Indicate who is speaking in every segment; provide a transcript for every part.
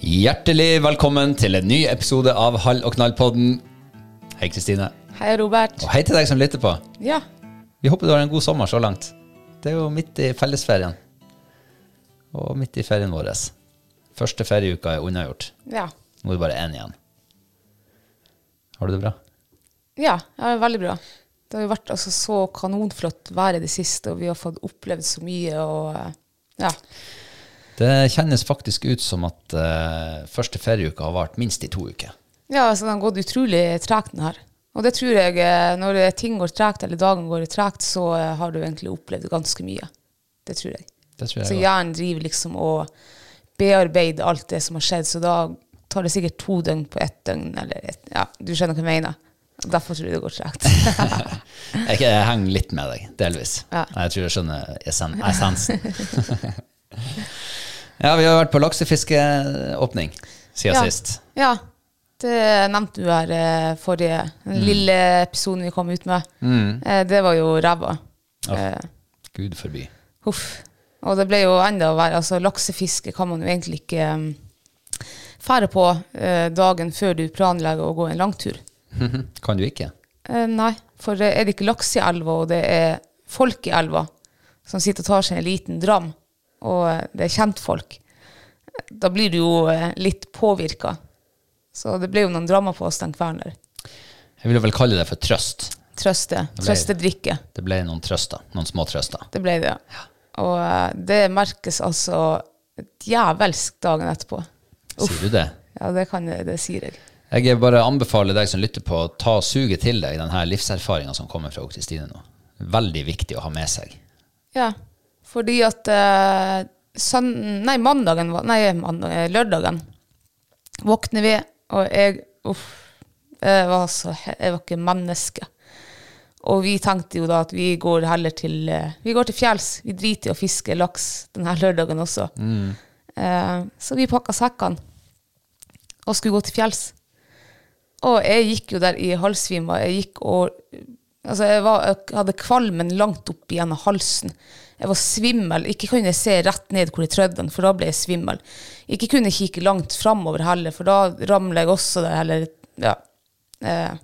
Speaker 1: Hjertelig velkommen til en ny episode av Hall og knall-podden. Hei, Kristine.
Speaker 2: Hei, Robert.
Speaker 1: Og hei til deg som lytter på.
Speaker 2: Ja.
Speaker 1: Vi håper du har en god sommer så langt. Det er jo midt i fellesferien. Og midt i ferien vår. Første ferieuka er unnagjort.
Speaker 2: ja.
Speaker 1: Nå er det bare én igjen. Har du det bra?
Speaker 2: Ja, ja, veldig bra. Det har jo vært altså, så kanonflott vær i det siste, og vi har fått opplevd så mye. og eh, ja.
Speaker 1: Det kjennes faktisk ut som at eh, første ferieuka har vart minst i to uker.
Speaker 2: ja, altså Det har gått utrolig tregt, den her. Og det tror jeg, eh, når eh, ting går tregt, eller dagen går tregt, så eh, har du egentlig opplevd ganske mye. Det tror jeg.
Speaker 1: Det tror jeg
Speaker 2: Så
Speaker 1: også.
Speaker 2: hjernen driver liksom og bearbeider alt det som har skjedd, så da tar det sikkert to døgn på ett døgn, eller et, ja, du skjønner hva jeg mener. Derfor tror jeg det går tregt.
Speaker 1: Jeg, jeg henger litt med deg, delvis.
Speaker 2: Ja.
Speaker 1: Jeg tror jeg skjønner essen, essensen. ja, vi har vært på laksefiskeåpning siden
Speaker 2: Ja.
Speaker 1: sist.
Speaker 2: Ja, det nevnte du her eh, forrige den lille episoden vi kom ut med. Eh, Det var jo ræva. Eh,
Speaker 1: Gud forby.
Speaker 2: Huff. Og det ble jo enda verre. Altså, laksefiske kan man jo egentlig ikke um, fære på eh, dagen før du planlegger å gå en langtur.
Speaker 1: Kan du ikke?
Speaker 2: Eh, Nei, for eh, er det ikke laks i elva, og det er folk i elva som sitter og tar seg en liten dram, og eh, det er kjentfolk, da blir du jo eh, litt påvirka. Så det ble jo noen drammer på oss den kvelden der.
Speaker 1: Jeg ville vel kalle det for trøst.
Speaker 2: Trøste.
Speaker 1: ble-
Speaker 2: Trøstedrikke.
Speaker 1: Det ble noen trøster, noen små trøster.
Speaker 2: Det ble det. Og eh, det merkes altså djevelsk dagen etterpå.
Speaker 1: Sier du det?
Speaker 2: Ja, det kan jeg, det sier jeg.
Speaker 1: Jeg bare anbefaler deg som lytter på, å ta suget til deg denne livserfaringa som kommer fra Kristine nå. Veldig viktig å ha med seg.
Speaker 2: Ja, fordi at eh, søn- Nei, mandagen var Nei, mandag, eh, lørdagen våkner vi, og jeg Uff. Jeg var, så, he- jeg var ikke menneske. Og vi tenkte jo da at vi går heller til eh, Vi går til fjells. Vi driter i å fiske laks denne lørdagen også. Eh, så vi pakka sekkene og skulle gå til fjells. Og jeg gikk jo der i halvsvima. Jeg gikk og Altså, jeg, var, jeg hadde kvalmen langt opp gjennom halsen. Jeg var svimmel. Ikke kunne jeg se rett ned hvor jeg trødde, den, for da ble jeg svimmel. Ikke kunne jeg kikke langt framover heller, for da ramler jeg også der. Eller, ja. Eh,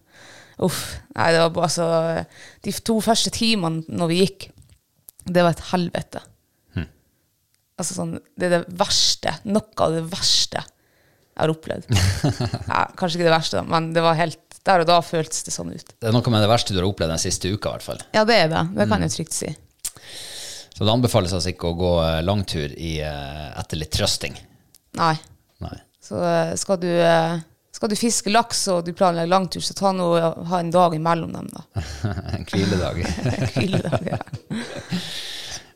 Speaker 2: uff. Nei, det var bare altså De to første timene når vi gikk, det var et helvete. Altså sånn, det er det verste, noe av det verste jeg har opplevd. ja, kanskje ikke det verste, da, men det var helt, der og da føltes det sånn ut.
Speaker 1: Det er noe med det verste du har opplevd den siste uka, i hvert fall.
Speaker 2: Ja, det er det. Det kan jeg trygt si.
Speaker 1: Så det anbefales altså ikke å gå eh, langtur i, eh, etter litt trøsting.
Speaker 2: Nei.
Speaker 1: Nei.
Speaker 2: Så eh, skal du, eh, skal du fiske laks og du planlegger langtur, så ta nå, ha en dag imellom dem, da.
Speaker 1: En hviledag.
Speaker 2: Hviledag, ja.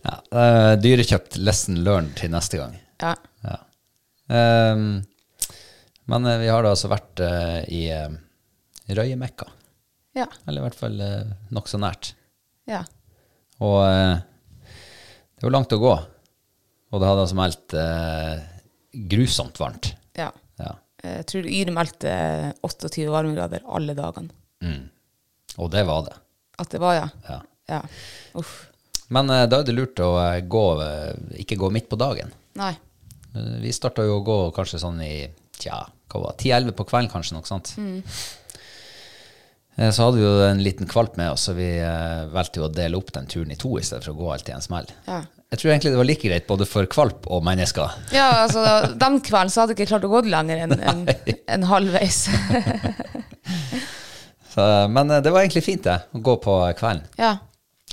Speaker 1: ja, eh, dyrekjøpt lesson learned til neste gang.
Speaker 2: ja.
Speaker 1: Ja. Ehm, men eh, vi har da altså vært eh, i eh, Røyemekka.
Speaker 2: Ja.
Speaker 1: Eller i hvert fall uh, nokså nært.
Speaker 2: ja.
Speaker 1: Og eh, det var langt å gå. Og det hadde altså meldt eh, grusomt varmt.
Speaker 2: ja.
Speaker 1: Ja.
Speaker 2: Jeg tror Yr meldte 28 varmegrader alle dagene.
Speaker 1: Mm. Og det var det.
Speaker 2: At det var, ja.
Speaker 1: Ja.
Speaker 2: ja. Uff.
Speaker 1: Men eh, da er det lurt å eh, gå, eh, ikke gå midt på dagen.
Speaker 2: Nei.
Speaker 1: Eh, Vi starta jo å gå kanskje sånn i tja, hva var det, 10-11 på kvelden, kanskje noe sånt. Eh, Så hadde vi jo en liten kvalp med oss, så vi eh, valgte jo å dele opp den turen i to i stedet for å gå alt i en smell.
Speaker 2: Ja.
Speaker 1: Jeg tror egentlig det var like greit både for kvalp og mennesker.
Speaker 2: Ja, altså, da- den kvelden så hadde jeg ikke klart å gå lenger enn enn- enn halvveis.
Speaker 1: Så, men eh, det var egentlig fint, det, å gå på kvelden.
Speaker 2: ja.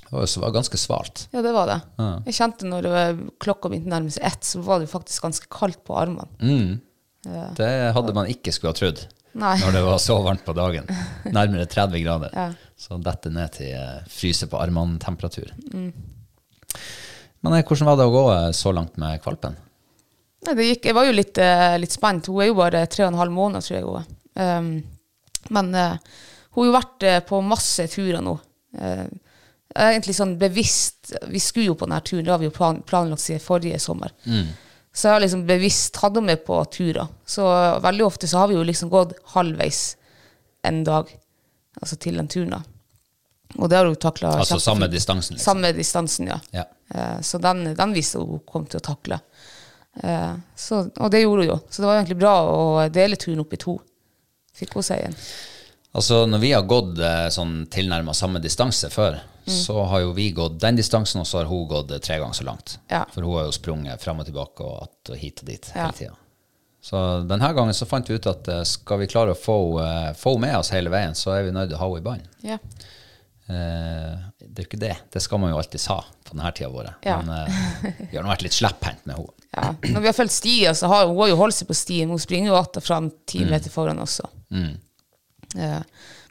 Speaker 1: Det var, jo så- var ganske svalt.
Speaker 2: ja, det var det.
Speaker 1: Ja.
Speaker 2: Jeg kjente når det var klokka begynte å nærme seg ett, så var det faktisk ganske kaldt på armene.
Speaker 1: Det hadde man ikke skulle ha trodd
Speaker 2: Nei.
Speaker 1: når det var så varmt på dagen. Nærmere 30 grader.
Speaker 2: Ja.
Speaker 1: Så dette ned til eh, fryse på armene-temperatur.
Speaker 2: Mm.
Speaker 1: Men eh, hvordan var det å gå eh, så langt med kvalpen?
Speaker 2: Nei, det gikk, jeg var jo litt, eh, litt spent. Hun er jo bare tre og en halv måned, tror jeg hun er. Ehm, men eh, hun har jo vært eh, på masse turer nå. Eh, egentlig sånn bevisst Vi skulle jo på denne turen, det har vi jo plan, planlagt siden forrige sommer.
Speaker 1: Mm.
Speaker 2: Så jeg har liksom bevisst tatt henne med på turer. Så veldig ofte så har vi jo liksom gått halvveis en dag, altså til den turen, da. Og det har hun takla
Speaker 1: Altså samme distansen, liksom.
Speaker 2: Samme distansen, ja.
Speaker 1: Ja.
Speaker 2: Eh, Så den, den visste hun kom til å takle. Eh, Så, og det gjorde hun jo. Så det var egentlig bra å dele turen opp i to, fikk hun si igjen.
Speaker 1: Altså, når vi har gått eh, sånn tilnærma samme distanse før,
Speaker 2: Mm.
Speaker 1: så har jo vi gått den distansen, og så har hun gått eh, tre ganger så langt.
Speaker 2: Ja.
Speaker 1: For hun har jo sprunget fram og tilbake og att og hit og dit
Speaker 2: Ja.
Speaker 1: hele tida. Så denne gangen så fant vi ut at eh, skal vi klare å få henne eh, få henne med oss hele veien, så er vi nødt til å ha henne i bånd.
Speaker 2: Ja.
Speaker 1: Eh, det er jo ikke det. Det skal man jo alltids ha på denne tida vår.
Speaker 2: Ja.
Speaker 1: Men eh, vi har nå vært litt slepphendt med henne.
Speaker 2: Når vi har fulgt stien, så har hun har jo holdt seg på stien. men Hun springer jo att og fram ti meter foran også. Eh,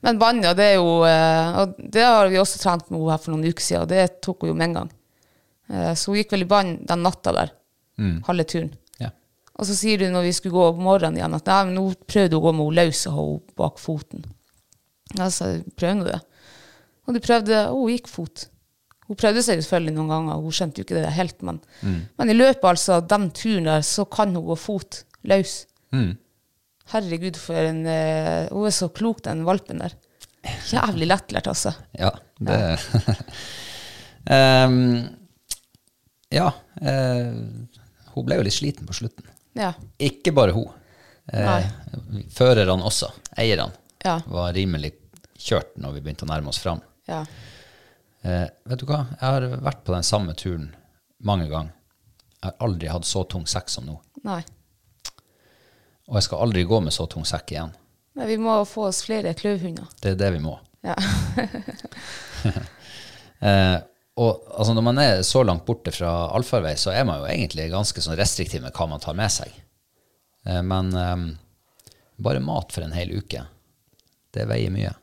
Speaker 2: Men banja, det er jo eh, Og det har vi også trent med henne her for noen uker siden, og det tok hun jo med en gang. Eh, Så hun gikk vel i bann den natta der, halve turen.
Speaker 1: Ja.
Speaker 2: Og så sier du når vi skulle gå om morgenen igjen, at nei, men nå prøvde hun å gå med henne løs og ha henne bak foten. Ja, så prøvde hun det. Og du prøvde, og hun gikk fot. Hun prøvde seg selvfølgelig noen ganger, hun skjønte jo ikke det helt, men, men i løpet altså, av den turen der, så kan hun gå fot løs. Herregud, for en, eh, hun er så klok, den valpen der. Jævlig lettlært, altså.
Speaker 1: Ja, det Em, Ja. eh, hun ble jo litt sliten på slutten.
Speaker 2: Ja,
Speaker 1: Ikke bare hun.
Speaker 2: Nei.
Speaker 1: Førerne også, eierne,
Speaker 2: Ja.
Speaker 1: var rimelig kjørt når vi begynte å nærme oss fram.
Speaker 2: ja.
Speaker 1: Eh, vet du hva, jeg har vært på den samme turen mange ganger. Jeg har aldri hatt så tung sekk som nå.
Speaker 2: Nei.
Speaker 1: Og jeg skal aldri gå med så tung sekk igjen.
Speaker 2: Nei, vi må få oss flere kløvhunder.
Speaker 1: Det er det vi må.
Speaker 2: Ja.
Speaker 1: Eh, og altså, når man er så langt borte fra allfarvei, så er man jo egentlig ganske sånn restriktiv med hva man tar med seg. Eh, men ehm, bare mat for en hel uke, det veier mye.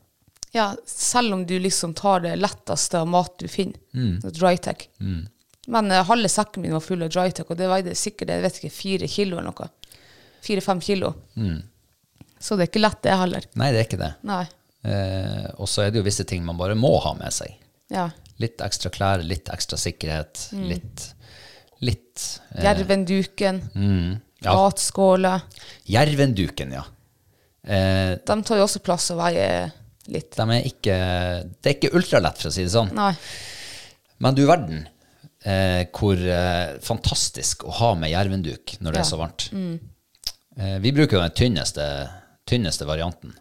Speaker 2: Ja, selv om du liksom tar det letteste av mat du finner,
Speaker 1: Mm.
Speaker 2: så drytech. Men eh, halve sekken min var full av drytech, og det veide sikkert jeg vet ikke, fire kilo eller noe. Fire-fem kilo.
Speaker 1: Mm.
Speaker 2: Så det er ikke lett, det heller.
Speaker 1: Nei, det er ikke det.
Speaker 2: Nei.
Speaker 1: Eh, og så er det jo visse ting man bare må ha med seg.
Speaker 2: Ja.
Speaker 1: Litt ekstra klær, litt ekstra sikkerhet, litt, litt eh,
Speaker 2: Jervenduken,
Speaker 1: mm, ja.
Speaker 2: matskåler.
Speaker 1: Jervenduken, ja. Eh,
Speaker 2: De tar jo også plass og veier litt.
Speaker 1: de er ikke, det er ikke ultralett, for å si det sånn.
Speaker 2: Nei.
Speaker 1: Men du verden, eh, hvor eh, fantastisk å ha med jervenduk når det
Speaker 2: Ja.
Speaker 1: er så varmt. Eh, vi bruker jo den tynneste, tynneste varianten,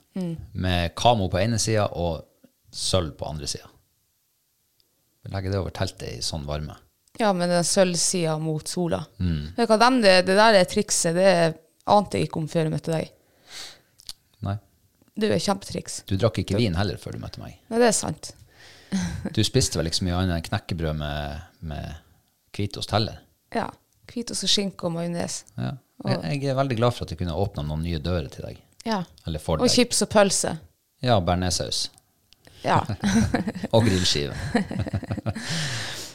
Speaker 1: med kamo på ene sida og sølv på andre sida. Vi legger det over teltet i sånn varme.
Speaker 2: Ja, men den sølvsida mot sola.
Speaker 1: Mm.
Speaker 2: Vet du hva, dem, det, det der er trikset, det ante jeg ikke om før jeg møtte deg.
Speaker 1: Nei.
Speaker 2: Det er jo et kjempetriks.
Speaker 1: Du drakk ikke vin heller før du møtte meg.
Speaker 2: Nei, det er sant.
Speaker 1: Du spiste vel ikke så mye annet enn knekkebrød med, med hvitost heller.
Speaker 2: Ja. Hvitost og skinke og majones.
Speaker 1: Ja. Jeg, jeg er veldig glad for at jeg kunne åpna noen nye dører til deg.
Speaker 2: Ja.
Speaker 1: Eller for
Speaker 2: Og
Speaker 1: deg.
Speaker 2: chips og pølse.
Speaker 1: Ja, bearnéssaus.
Speaker 2: Ja.
Speaker 1: Og grillskive.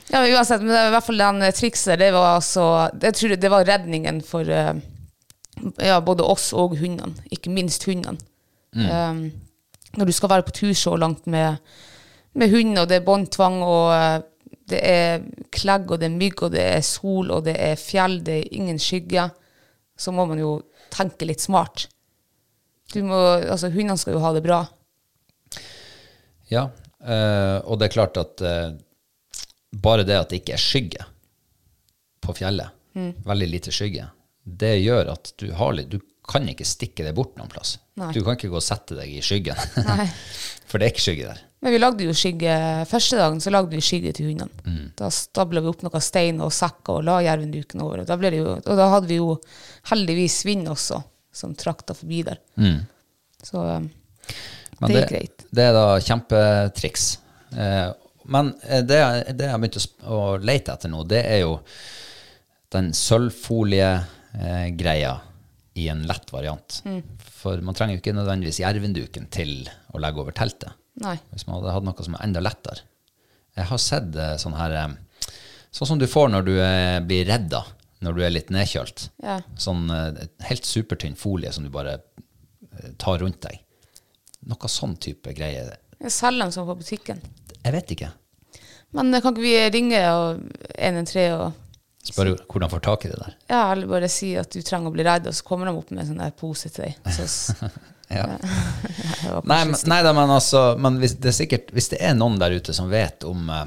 Speaker 2: ja, men uansett, men det er i hvert fall den eh, trikset der, det var altså Jeg tror det var redningen for eh, ja, både oss og hundene. Ikke minst hundene. Eh, når du skal være på tur så langt med, med hund, og det er båndtvang, og eh, det er klegg, og det er mygg, og det er sol, og det er fjell, det er ingen skygge, så må man jo tenke litt smart. Du må, altså, hundene skal jo ha det bra.
Speaker 1: Ja, eh, og det er klart at eh, bare det at det ikke er skygge på fjellet,
Speaker 2: Mm.
Speaker 1: veldig lite skygge, det gjør at du, har, litt- du kan ikke stikke deg bort noen plass.
Speaker 2: Nei.
Speaker 1: Du kan ikke gå og sette deg i skyggen,
Speaker 2: Nei.
Speaker 1: for det er ikke skygge der.
Speaker 2: Men vi lagde jo skygge første dagen, så lagde vi skygge til hundene.
Speaker 1: Mm.
Speaker 2: Da stabla vi opp noen steiner og sekker og la jerven duken over. Og da, ble det jo, og da hadde vi jo heldigvis vind også, som trakta forbi der. Så um,
Speaker 1: Men
Speaker 2: det gikk greit.
Speaker 1: Det er da kjempetriks. Eh, men eh, det, det jeg begynte å sp- å lete etter nå, det er jo den sølvfolie-greia i en lett variant.
Speaker 2: Mm.
Speaker 1: For man trenger jo ikke nødvendigvis jervenduken til å legge over teltet.
Speaker 2: Nei.
Speaker 1: Hvis man hadde hatt noe som er enda lettere. Jeg har sett eh, sånn her eh, Sånn som du får når du eh, blir redda, når du er litt nedkjølt.
Speaker 2: Ja.
Speaker 1: Sånn eh, helt supertynn folie som du bare eh, tar rundt deg. Noe sånn type greie.
Speaker 2: Jeg selger dem som på butikken.
Speaker 1: Jeg vet ikke.
Speaker 2: Men eh, kan ikke vi ringe og 113 og
Speaker 1: Spør hvordan får tak i det der.
Speaker 2: ja, eller bare si at du trenger å bli redd, og så kommer de opp med en sånn der pose til deg. Så, s-
Speaker 1: Ja.
Speaker 2: det
Speaker 1: Nei,
Speaker 2: var kanskje
Speaker 1: men,
Speaker 2: stygt.
Speaker 1: nei da, men altså men hvis, det er sikkert, hvis det er noen der ute som vet om, eh,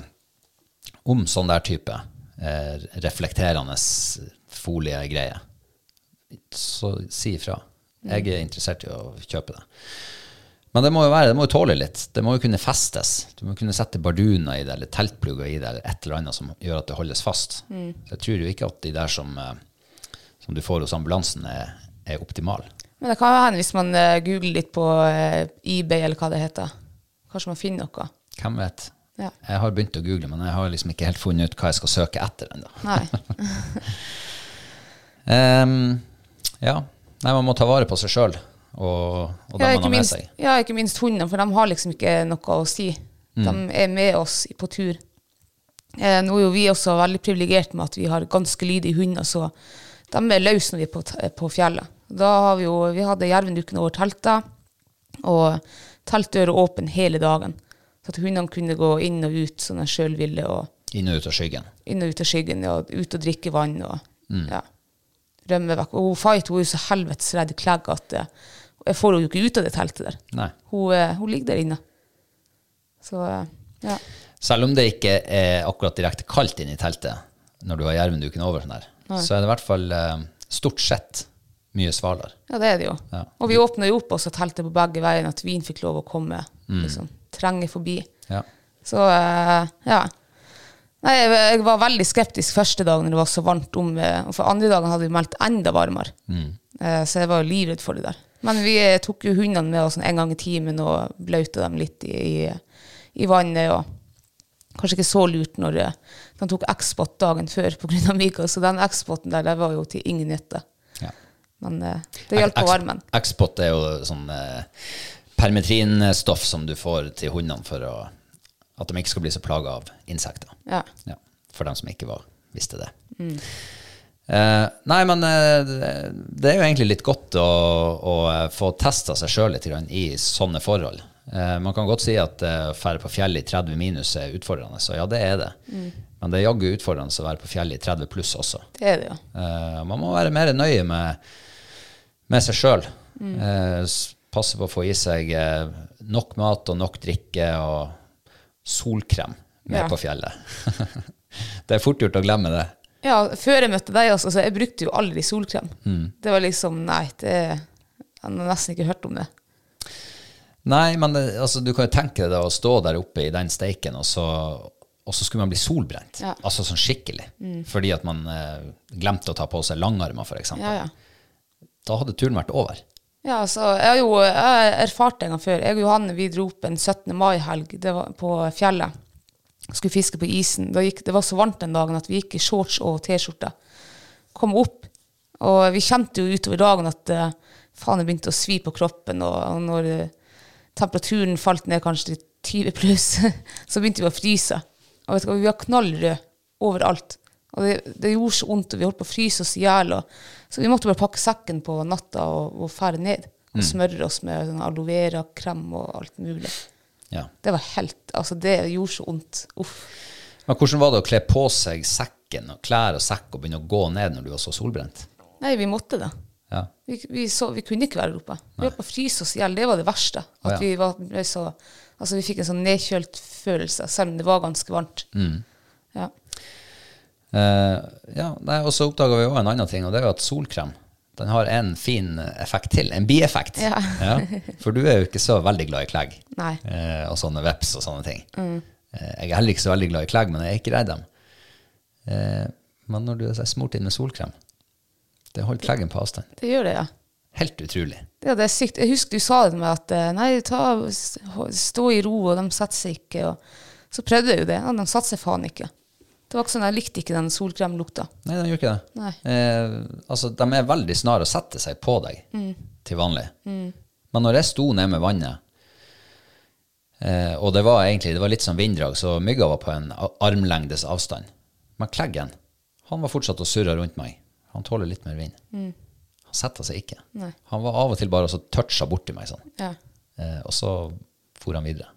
Speaker 1: om sånn der type eh, reflekterende foliegreie, så si ifra. Jeg er interessert i å kjøpe det. Men det må jo være, det må jo tåle litt. Det må jo kunne festes. Du må kunne sette barduner i det, eller teltplugger i det, eller et eller annet som gjør at det holdes fast. Så jeg tror jo ikke at de der som, eh, som du får hos ambulansen, er, er optimale.
Speaker 2: Men det kan jo hende hvis man eh, googler litt på eh, eBay, eller hva det heter. Kanskje man finner noe.
Speaker 1: Hvem vet?
Speaker 2: Ja.
Speaker 1: Jeg har begynt å google, men jeg har liksom ikke helt funnet ut hva jeg skal søke etter ennå.
Speaker 2: Nei.
Speaker 1: Ehm, ja. Nei, man må ta vare på seg sjøl og, og dem
Speaker 2: Ja,
Speaker 1: man har
Speaker 2: ikke
Speaker 1: med
Speaker 2: minst,
Speaker 1: seg.
Speaker 2: ja, ikke minst hundene, for de har liksom ikke noe å si.
Speaker 1: Mm.
Speaker 2: De er med oss på tur. Eh, nå er jo vi også veldig privilegerte med at vi har ganske lydige hunder, så de er løse når vi er på, t- på fjellet. Da har vi jo, vi hadde jervendukken over teltet, og teltdøra åpen hele dagen. Så at hundene kunne gå inn og ut som de sjøl ville, og
Speaker 1: Inn og ut av skyggen.
Speaker 2: inn og ut av skyggen, og ut og drikke vann, og
Speaker 1: Mm.
Speaker 2: ja, rømme vekk. Og hun Fight hun er jo så helvetes redd i klegg at eh, jeg får henne jo ikke ut av det teltet der.
Speaker 1: Nei.
Speaker 2: Hun, eh, hun ligger der inne. Så eh, ja.
Speaker 1: Selv om det ikke er akkurat direkte kaldt inne i teltet når du har jervenduken over, sånn her, så er det i hvert fall eh, stort sett mye svalere.
Speaker 2: ja, det er det jo.
Speaker 1: Ja.
Speaker 2: Og vi åpna jo opp også teltet på begge veiene, at vin fikk lov å komme.
Speaker 1: Mm.
Speaker 2: Liksom, trenge forbi.
Speaker 1: Ja.
Speaker 2: Så eh, ja. Nei, jeg, jeg var veldig skeptisk første dagen når det var så varmt om eh, og For andre dagen hadde vi meldt enda varmere. Eh, så jeg var jo livredd for det der. Men vi eh, tok jo hundene med oss sånn en gang i timen og blauta dem litt i, i, i vannet. og Kanskje ikke så lurt når eh, de tok X-spot dagen før pga. Mikael, så den X-spoten der, der var jo til ingen nytte.
Speaker 1: Ja.
Speaker 2: Men eh, det hjalp på
Speaker 1: Ex-
Speaker 2: varmen.
Speaker 1: Expot er jo sånn eh, permetrinstoff som du får til hundene for å, at de ikke skal bli så plaga av insekter.
Speaker 2: Ja.
Speaker 1: Ja, for dem som ikke var, visste det. Eh, nei, men eh, det er jo egentlig litt godt å, å eh, få testa seg sjøl litt grann i sånne forhold. Eh, man kan godt si at eh, å ferde på fjellet i 30 minus er utfordrende, så ja, det er det. Men det er jaggu utfordrende å være på fjellet i 30 pluss også.
Speaker 2: Det er det jo.
Speaker 1: Eh, man må være mer nøye med, med seg sjøl.
Speaker 2: Mm.
Speaker 1: passe på å få i seg eh, nok mat og nok drikke og solkrem med
Speaker 2: Ja.
Speaker 1: på fjellet. det er fort gjort å glemme det.
Speaker 2: Ja, før jeg møtte deg også, så jeg brukte jo aldri solkrem. Det var liksom, nei, det, jeg har nesten ikke hørt om det.
Speaker 1: Nei, men det, altså, du kan jo tenke deg da å stå der oppe i den steiken, og så, og så skulle man bli solbrent.
Speaker 2: Ja. Mm.
Speaker 1: Altså sånn skikkelig. Fordi at man eh, glemte å ta på seg langarmer, f.eks.
Speaker 2: Ja, ja.
Speaker 1: Da hadde turen vært over.
Speaker 2: Ja, så jeg har jo jeg har erfart det en gang før. Jeg og Johanne vi dro opp en 17. mai-helg det var på fjellet. Skulle fiske på isen. Da gikk, det var så varmt den dagen at vi gikk i shorts og T-skjorte. Kom opp, Og vi kjente jo utover dagen at eh, faen, det begynte å svi på kroppen, og, og når eh, temperaturen falt ned kanskje til 20 pluss, så begynte vi å fryse. Og vet du hva, vi var knallrøde overalt. Og det, det gjorde så vondt, og vi holdt på å fryse oss i hjel. og- Så vi måtte bare pakke sekken på natta og, og fære ned. Og smøre oss med sånn aloe vera-krem og alt mulig.
Speaker 1: Ja.
Speaker 2: Det var helt Altså, det gjorde så vondt. Uff.
Speaker 1: Men hvordan var det å kle på seg sekken og klær og sekk og begynne å gå ned når du var så solbrent?
Speaker 2: Nei, vi måtte det.
Speaker 1: Ja.
Speaker 2: Vi, vi, så, vi kunne ikke være oppe. Vi holdt på å fryse oss i hjel. Det var det verste.
Speaker 1: Å,
Speaker 2: At
Speaker 1: ja.
Speaker 2: vi, var, ble så, altså, vi fikk en sånn nedkjølt følelse, selv om det var ganske varmt. Ja.
Speaker 1: Eh, ja, nei, og så oppdaga vi òg en annen ting, og det er jo at solkrem den har en fin effekt til. En bieffekt.
Speaker 2: Ja.
Speaker 1: for du er jo ikke så veldig glad i klegg
Speaker 2: Nei. Mm.
Speaker 1: eh, og sånne veps og sånne ting. Eh, jeg er heller ikke så veldig glad i klegg, men jeg er ikke redd dem. Eh, men når du er smurt inn med solkrem, det holder kleggen på avstand.
Speaker 2: Det gjør det, ja.
Speaker 1: Helt utrolig.
Speaker 2: Ja, det er sykt. Jeg husker du sa det med at eh, nei, ta, stå i ro, og de setter seg ikke. Og så prøvde jeg jo det, og de satte seg faen ikke. Det var ikke sånn, Jeg likte ikke den solkremlukta.
Speaker 1: Nei, den gjør ikke det.
Speaker 2: Nei.
Speaker 1: Eh, altså, de er veldig snare å sette seg på deg
Speaker 2: Mm.
Speaker 1: til vanlig. Men når jeg sto ned med vannet, eh, og det var egentlig det var litt sånn vinddrag, så mygga var på en a- armlengdes avstand. Men Kleggen han var fortsatt og surra rundt meg. Han tåler litt mer vind. Han setter seg ikke.
Speaker 2: Mm. Nei.
Speaker 1: Han var av og til bare og så toucha borti meg sånn.
Speaker 2: Ja.
Speaker 1: Eh, og så for han videre.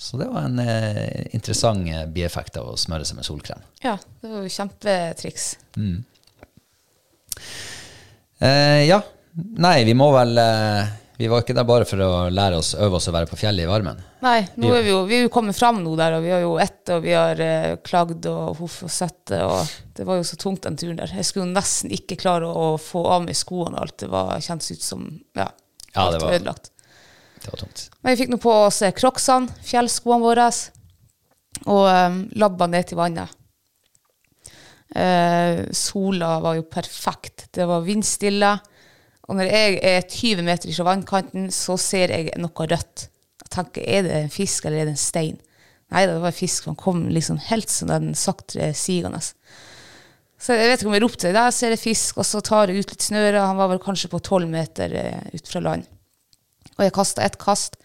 Speaker 1: Så det var en eh, interessant eh, bieffekt av å smøre seg med solkrem.
Speaker 2: ja, det var jo kjempetriks.
Speaker 1: Eh, ja. Nei, vi må vel eh, Vi var ikke der bare for å lære oss, øve oss å være på fjellet i varmen.
Speaker 2: Nei, nå er vi, jo, vi er jo kommet fram nå der, og vi har jo ett, og vi har eh, klagd og huff og sett det, og det var jo så tungt den turen der. Jeg skulle jo nesten ikke klare å få av meg skoene og alt. Det var, kjentes ut som ja,
Speaker 1: Ja,
Speaker 2: alt
Speaker 1: det
Speaker 2: var
Speaker 1: var-
Speaker 2: ødelagt.
Speaker 1: Det var tungt.
Speaker 2: Men vi fikk nå på oss eh, crocsene, fjellskoene våre, og eh, labba ned til vannet. Eh, sola var jo perfekt. Det var vindstille. Og når jeg er 20 meter fra vannkanten, så ser jeg noe rødt. Jeg tenker, er det en fisk eller er det en stein? Nei da, det var en fisk. Han kom liksom helt som den sakte sigende. Så jeg vet ikke om jeg ropte der ser jeg fisk, og så tar jeg ut litt snøre. Han var vel kanskje på 12 meter eh, ut fra land. Og jeg kasta ett kast.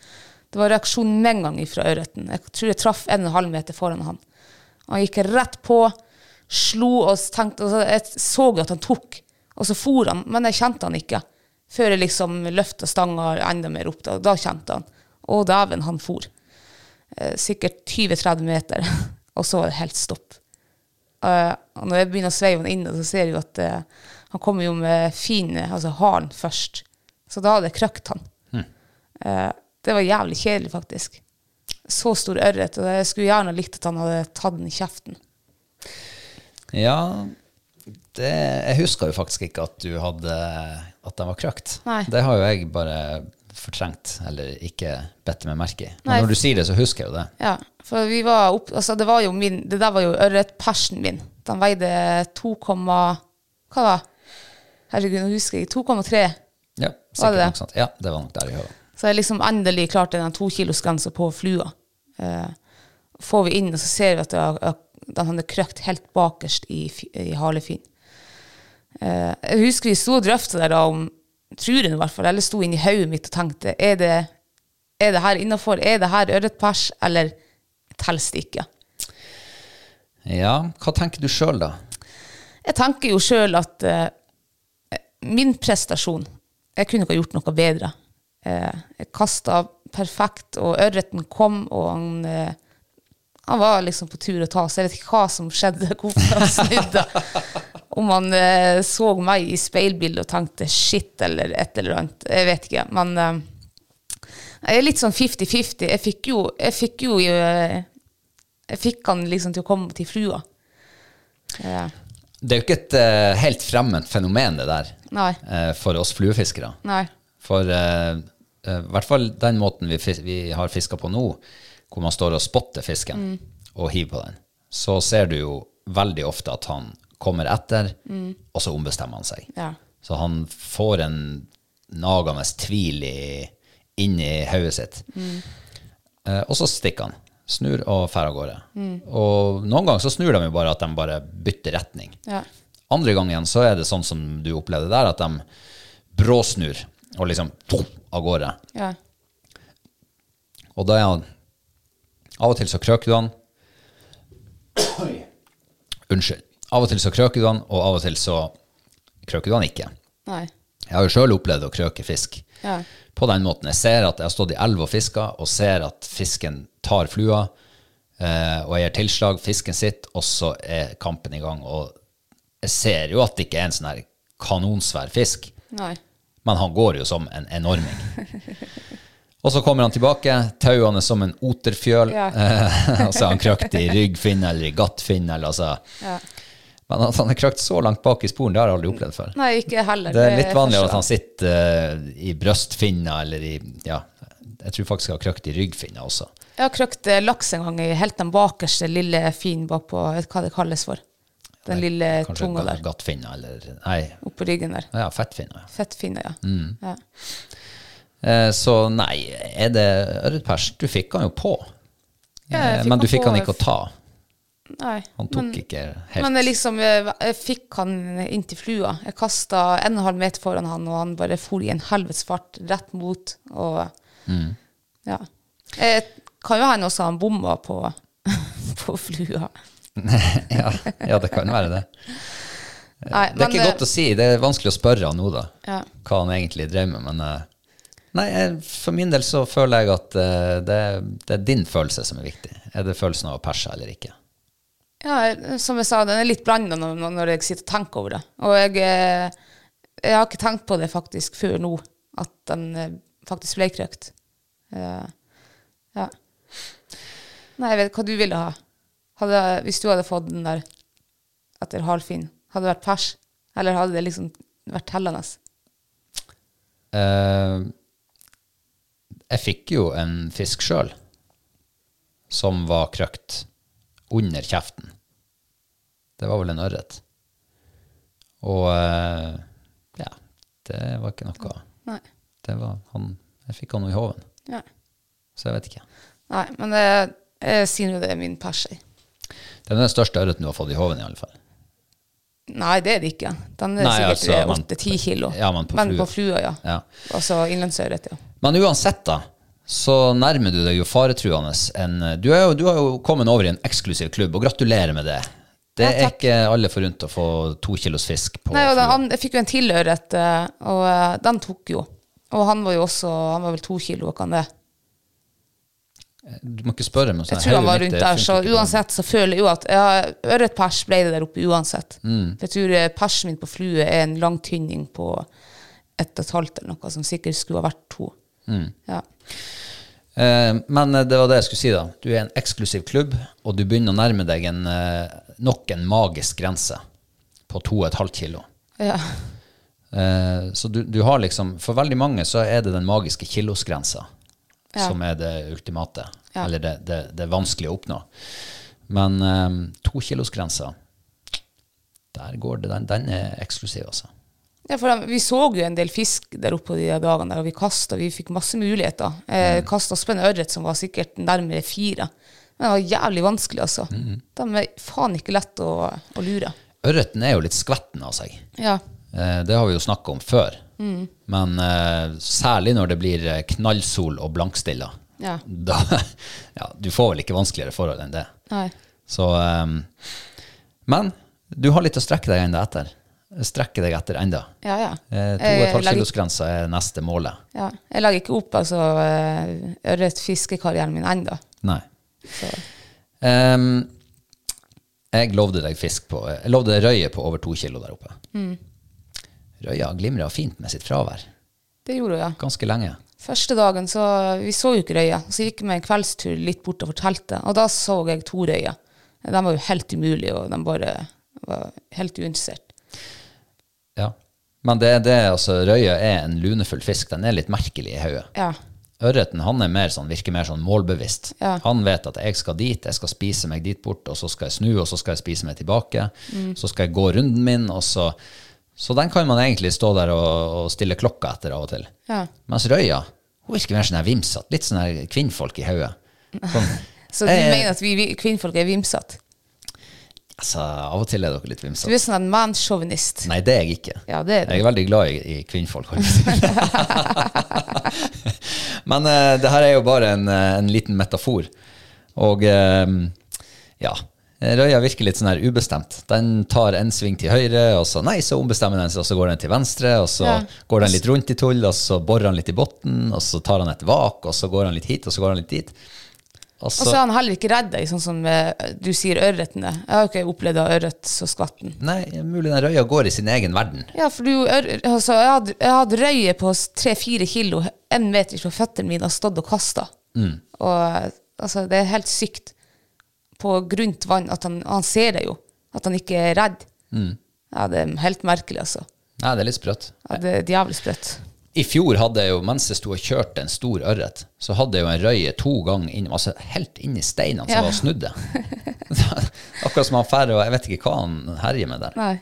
Speaker 2: Det var reaksjon med en gang ifra ørreten. Jeg tror jeg traff en og en halv meter foran han. Han gikk rett på, slo og tenkte og så Jeg så jo at han tok, og så for han, men jeg kjente han ikke. Før jeg liksom løfta stanga enda mer opp, da, da kjente han. Å, dæven, han for. Eh, sikkert 20-30 meter, og så var det helt stopp. Eh, og når jeg begynner å sveive han inn, så ser jeg jo at eh, han kommer jo med fin, altså haren først. Så da hadde jeg krøkt han. Eh, det var jævlig kjedelig, faktisk. Så stor ørret, og jeg skulle gjerne likt at han hadde tatt den i kjeften.
Speaker 1: Ja, det, jeg huska jo faktisk ikke at du hadde At den var krøkt.
Speaker 2: Nei.
Speaker 1: Det har jo jeg bare fortrengt, eller ikke bedt meg merke i. Men
Speaker 2: Nei.
Speaker 1: når du sier det, så husker jeg jo det.
Speaker 2: Ja, for vi var opp, altså det var jo min, det der var jo ørretpersen min. Den veide 2, hva da? Herregud, nå husker jeg, 2,3.
Speaker 1: Ja,
Speaker 2: Var det
Speaker 1: sikkert
Speaker 2: det?
Speaker 1: nok sant. Ja, det var nok der i hodet.
Speaker 2: Så jeg liksom endelig klarte den tokilosgrensa på flua. Eh, får vi inn, og så ser vi at det har- at den hadde krøkt helt bakerst i, fi- i halefin. Eh, jeg husker vi sto og drøfta der da om Tror jeg nå i hvert fall, eller sto inni hodet mitt og tenkte er det, er det her innafor? Er det her ørretpers, eller teller det ikke?
Speaker 1: Ja, hva tenker du sjøl, da?
Speaker 2: Jeg tenker jo sjøl at eh, min prestasjon Jeg kunne ikke ha gjort noe bedre. Eh, jeg kasta perfekt, og ørreten kom, og han, eh, han var liksom på tur å ta, så jeg vet ikke hva som skjedde, hvorfor han snudde. Om han eh, så meg i speilbildet og tenkte shit eller et eller annet. Jeg vet ikke. Men eh, jeg er litt sånn 50-50. Jeg fikk jo, jeg fikk jo eh, Jeg fikk han liksom til å komme til flua. Eh,
Speaker 1: Det er jo ikke et eh, helt fremmed fenomen, det der,
Speaker 2: Nei.
Speaker 1: eh, for oss fluefiskere.
Speaker 2: Nei.
Speaker 1: For eh, eh, i hvert fall den måten vi, fis vi har fiska på nå, hvor man står og spotter fisken og hiver på den, så ser du jo veldig ofte at han kommer etter, og så ombestemmer han seg.
Speaker 2: Ja.
Speaker 1: Så han får en nagende tvil i, inn i hodet sitt. Eh, og så stikker han. Snur og drar av gårde. Og noen ganger så snur de jo bare at de bare bytter retning.
Speaker 2: Ja.
Speaker 1: Andre gangen så er det sånn som du opplevde der, at de bråsnur og liksom pff, av gårde.
Speaker 2: Ja.
Speaker 1: Og da er han Av og til så krøker du han. Unnskyld. Av og til så krøker du han, og av og til så krøker du han ikke.
Speaker 2: Nei.
Speaker 1: Jeg har jo sjøl opplevd å krøke fisk
Speaker 2: Ja.
Speaker 1: på den måten. Jeg ser at jeg har stått i elv og fiska, og ser at fisken tar flua, eh, og jeg gir tilslag, fisken sitter, og så er kampen i gang. Og jeg ser jo at det ikke er en sånn her kanonsvær fisk,
Speaker 2: Nei.
Speaker 1: men han går jo som en enorming. Og så kommer han tilbake, tauene som en oterfjøl,
Speaker 2: Ja.
Speaker 1: eh, og så er han krøkt i ryggfinn eller i gattfinn, eller altså.
Speaker 2: Ja.
Speaker 1: Men at han er krøkt så langt bak i sporen, det har jeg aldri opplevd før.
Speaker 2: Nei, ikke heller.
Speaker 1: Det er litt vanligere
Speaker 2: første
Speaker 1: at han sitter eh, i brøstfinna eller i Ja, jeg tror faktisk jeg har krøkt i ryggfinna også.
Speaker 2: gang. Jeg har krøkt eh, laks en gang i helt den bakerste lille fin bakpå, jeg vet eh, hva det kalles for. Den lille
Speaker 1: Kanskje
Speaker 2: tunga der,
Speaker 1: gattfinna eller Nei,
Speaker 2: oppå ryggen der.
Speaker 1: ja, fettfinna. ja.
Speaker 2: Fettfinne, ja.
Speaker 1: Mm.
Speaker 2: ja.
Speaker 1: Eh, Så nei, er det ørretpers? Du fikk han jo på,
Speaker 2: Ja,
Speaker 1: Eh,
Speaker 2: jeg fikk
Speaker 1: men du fikk han
Speaker 2: på-
Speaker 1: ikke å ta.
Speaker 2: Nei.
Speaker 1: Han tok ikke helt
Speaker 2: Men jeg liksom, eh, jeg fikk han inntil flua. Jeg kasta en og en halv meter foran han, og han bare for i en helvetes fart rett mot. Og
Speaker 1: Mm.
Speaker 2: ja. Eh, kan jo hende også han bomma på, på flua. liksom-
Speaker 1: ja, ja, det kan være det.
Speaker 2: Nei,
Speaker 1: Det er ikke godt å si. Det er vanskelig å spørre han nå, da,
Speaker 2: eh, Ja.
Speaker 1: hva han egentlig drev med. Men eh, nei, jeg, for min del så føler jeg at eh, det, er- det er din følelse som er viktig. Er det følelsen av å perse eller ikke?
Speaker 2: Ja, jeg- som jeg sa, den er litt blanda når, når jeg sitter og tenker over det. Og jeg, eh, jeg har ikke tenkt på det faktisk før nå, at den eh, faktisk ble krøkt. Eh, ja. Nei, jeg vet hva du ville ha. Hadde, hvis du hadde fått den der etter halvfin, hadde det vært pers? Eller hadde det liksom vært tellende?
Speaker 1: Eh, jeg fikk jo en fisk sjøl som var krøkt under kjeften. Det var vel en ørret. Og eh, ja, det var ikke noe
Speaker 2: Nei.
Speaker 1: det var han, Jeg fikk han jo i hoven,
Speaker 2: Ja.
Speaker 1: så jeg vet ikke.
Speaker 2: Nei, men jeg, jeg sier jo det er min pers. jeg.
Speaker 1: Det er den største ørreten du har fått i hoven, i alle fall.
Speaker 2: Nei, det er det ikke. Den er
Speaker 1: Nei, altså,
Speaker 2: sikkert
Speaker 1: men-
Speaker 2: åtte-ti kilo.
Speaker 1: Ja, men på flua.
Speaker 2: på flua, ja.
Speaker 1: Ja.
Speaker 2: Altså innlandsørret, ja.
Speaker 1: Men uansett, da, så nærmer du deg jo faretruende en Du, er jo, du har jo kommet over i en eksklusiv klubb, og gratulerer med det. Det
Speaker 2: Ja,
Speaker 1: er
Speaker 2: takk.
Speaker 1: ikke alle forunt å få to kilos fisk på
Speaker 2: Nei, og den,
Speaker 1: flua.
Speaker 2: an- jeg fikk jo en tilørret, eh, og eh, den tok jo. Og han var jo også Han var vel to kilo, kan det?
Speaker 1: Du må ikke spørre meg.
Speaker 2: Jeg tror han var rundt der, så uansett så føler jeg jo at ja, Ørretpers ble det der oppe uansett.
Speaker 1: Mm.
Speaker 2: For jeg tror eh, persen min på flue er en lang tynning på ett og et halvt eller noe, som sikkert skulle ha vært to.
Speaker 1: Mm.
Speaker 2: Ja.
Speaker 1: Eh, Men eh, det var det jeg skulle si, da. Du er en eksklusiv klubb, og du begynner å nærme deg en, eh, nok en magisk grense på 2,5 kilo.
Speaker 2: ja.
Speaker 1: Eh, Så du, du har liksom For veldig mange så er det den magiske kilosgrensa
Speaker 2: Ja.
Speaker 1: som er det ultimate.
Speaker 2: Ja.
Speaker 1: Eller det, det, det er vanskelig å oppnå. Men eh, tokilosgrensa, der går det. Den, den er eksklusiv, altså.
Speaker 2: Ja, for de- Vi så jo en del fisk der oppe på de der dagene, der, og vi kasta. Vi fikk masse muligheter. Eh, Kasta oss på en ørret som var sikkert nærmere fire. Men det var jævlig vanskelig, altså. De er faen ikke lett å, å lure.
Speaker 1: Ørreten er jo litt skvetten av seg.
Speaker 2: Ja.
Speaker 1: Eh, Det har vi jo snakka om før.
Speaker 2: Mm.
Speaker 1: Men eh, særlig når det blir eh, knallsol og blankstilla.
Speaker 2: Ja.
Speaker 1: Da, ja, du får vel ikke vanskeligere forhold enn det.
Speaker 2: Nei.
Speaker 1: Så, ehm, men du har litt å strekke deg enda etter. Strekke deg etter enda.
Speaker 2: Ja, ja.
Speaker 1: Eh, 2,5
Speaker 2: Jeg legger-
Speaker 1: kilosgrensa er neste målet.
Speaker 2: ja. Jeg legger ikke opp altså, eh, ørretfiskekarrieren min ennå.
Speaker 1: Nei. Ehm, jeg lovde deg fisk på Jeg lovde røye på over to kilo der oppe. Røya glimra fint med sitt fravær
Speaker 2: Det gjorde hun, ja.
Speaker 1: ganske lenge.
Speaker 2: Første dagen så Vi så jo ikke røya. Så gikk vi en kveldstur litt bortover teltet, og da så jeg to røyer. De var jo helt umulige, og de bare var helt uinteressert.
Speaker 1: Ja. Men det, er det, altså, røya er en lunefull fisk. Den er litt merkelig i hodet.
Speaker 2: Ja.
Speaker 1: Ørreten han er mer sånn, virker mer sånn målbevisst.
Speaker 2: Ja.
Speaker 1: Han vet at jeg skal dit, jeg skal spise meg dit bort, og så skal jeg snu, og så skal jeg spise meg tilbake.
Speaker 2: Mm.
Speaker 1: Så skal jeg gå runden min, og så Så den kan man egentlig stå der og, og stille klokka etter av og til.
Speaker 2: Ja.
Speaker 1: Mens røya hun virker mer sånn her vimsete. Litt sånn her kvinnfolk i hodet. Sånn,
Speaker 2: Så du
Speaker 1: Eh,
Speaker 2: mener at vi, vi kvinnfolk er vimsete?
Speaker 1: Altså, av og til er dere litt
Speaker 2: Du er
Speaker 1: vimsete.
Speaker 2: sånn en manssjåvinist.
Speaker 1: Nei, det er jeg ikke.
Speaker 2: Ja, det
Speaker 1: Jeg
Speaker 2: er det.
Speaker 1: er veldig glad i, i kvinnfolk. holdt jeg på å si. Men eh, det her er jo bare en, eh, en liten metafor. Og eh, ja, røya virker litt sånn her ubestemt. Den tar en sving til høyre, og så nei, så ombestemmer den seg, og så går den til venstre, og så
Speaker 2: Ja.
Speaker 1: går den litt rundt i tull, og så borer han litt i bunnen, og så tar han et vak, og så går han litt hit, og så går han litt dit. Og
Speaker 2: Og så er han heller ikke redd deg, sånn som eh, du sier ørretene. Jeg har jo ikke opplevd å ha ørret så skvatten.
Speaker 1: Nei, mulig den røya går i sin egen verden.
Speaker 2: Ja, for du, ør, altså, jeg hadde, jeg hadde røye på tre-fire kilo, en meter fra føttene mine, og stått og kasta. Og altså, det er helt sykt på grunt vann at han, han ser det jo, at han ikke er redd. Ja, det er helt merkelig, altså.
Speaker 1: Nei, det er litt sprøtt.
Speaker 2: Ja, det er djevlig sprøtt.
Speaker 1: I fjor hadde jeg jo, mens jeg sto og kjørte en stor ørret, så hadde jeg jo en røye to ganger inn, altså helt inn i steinene
Speaker 2: Ja.
Speaker 1: som var snudde. Akkurat som han færre, og jeg vet ikke hva han herjer med der.
Speaker 2: Nei.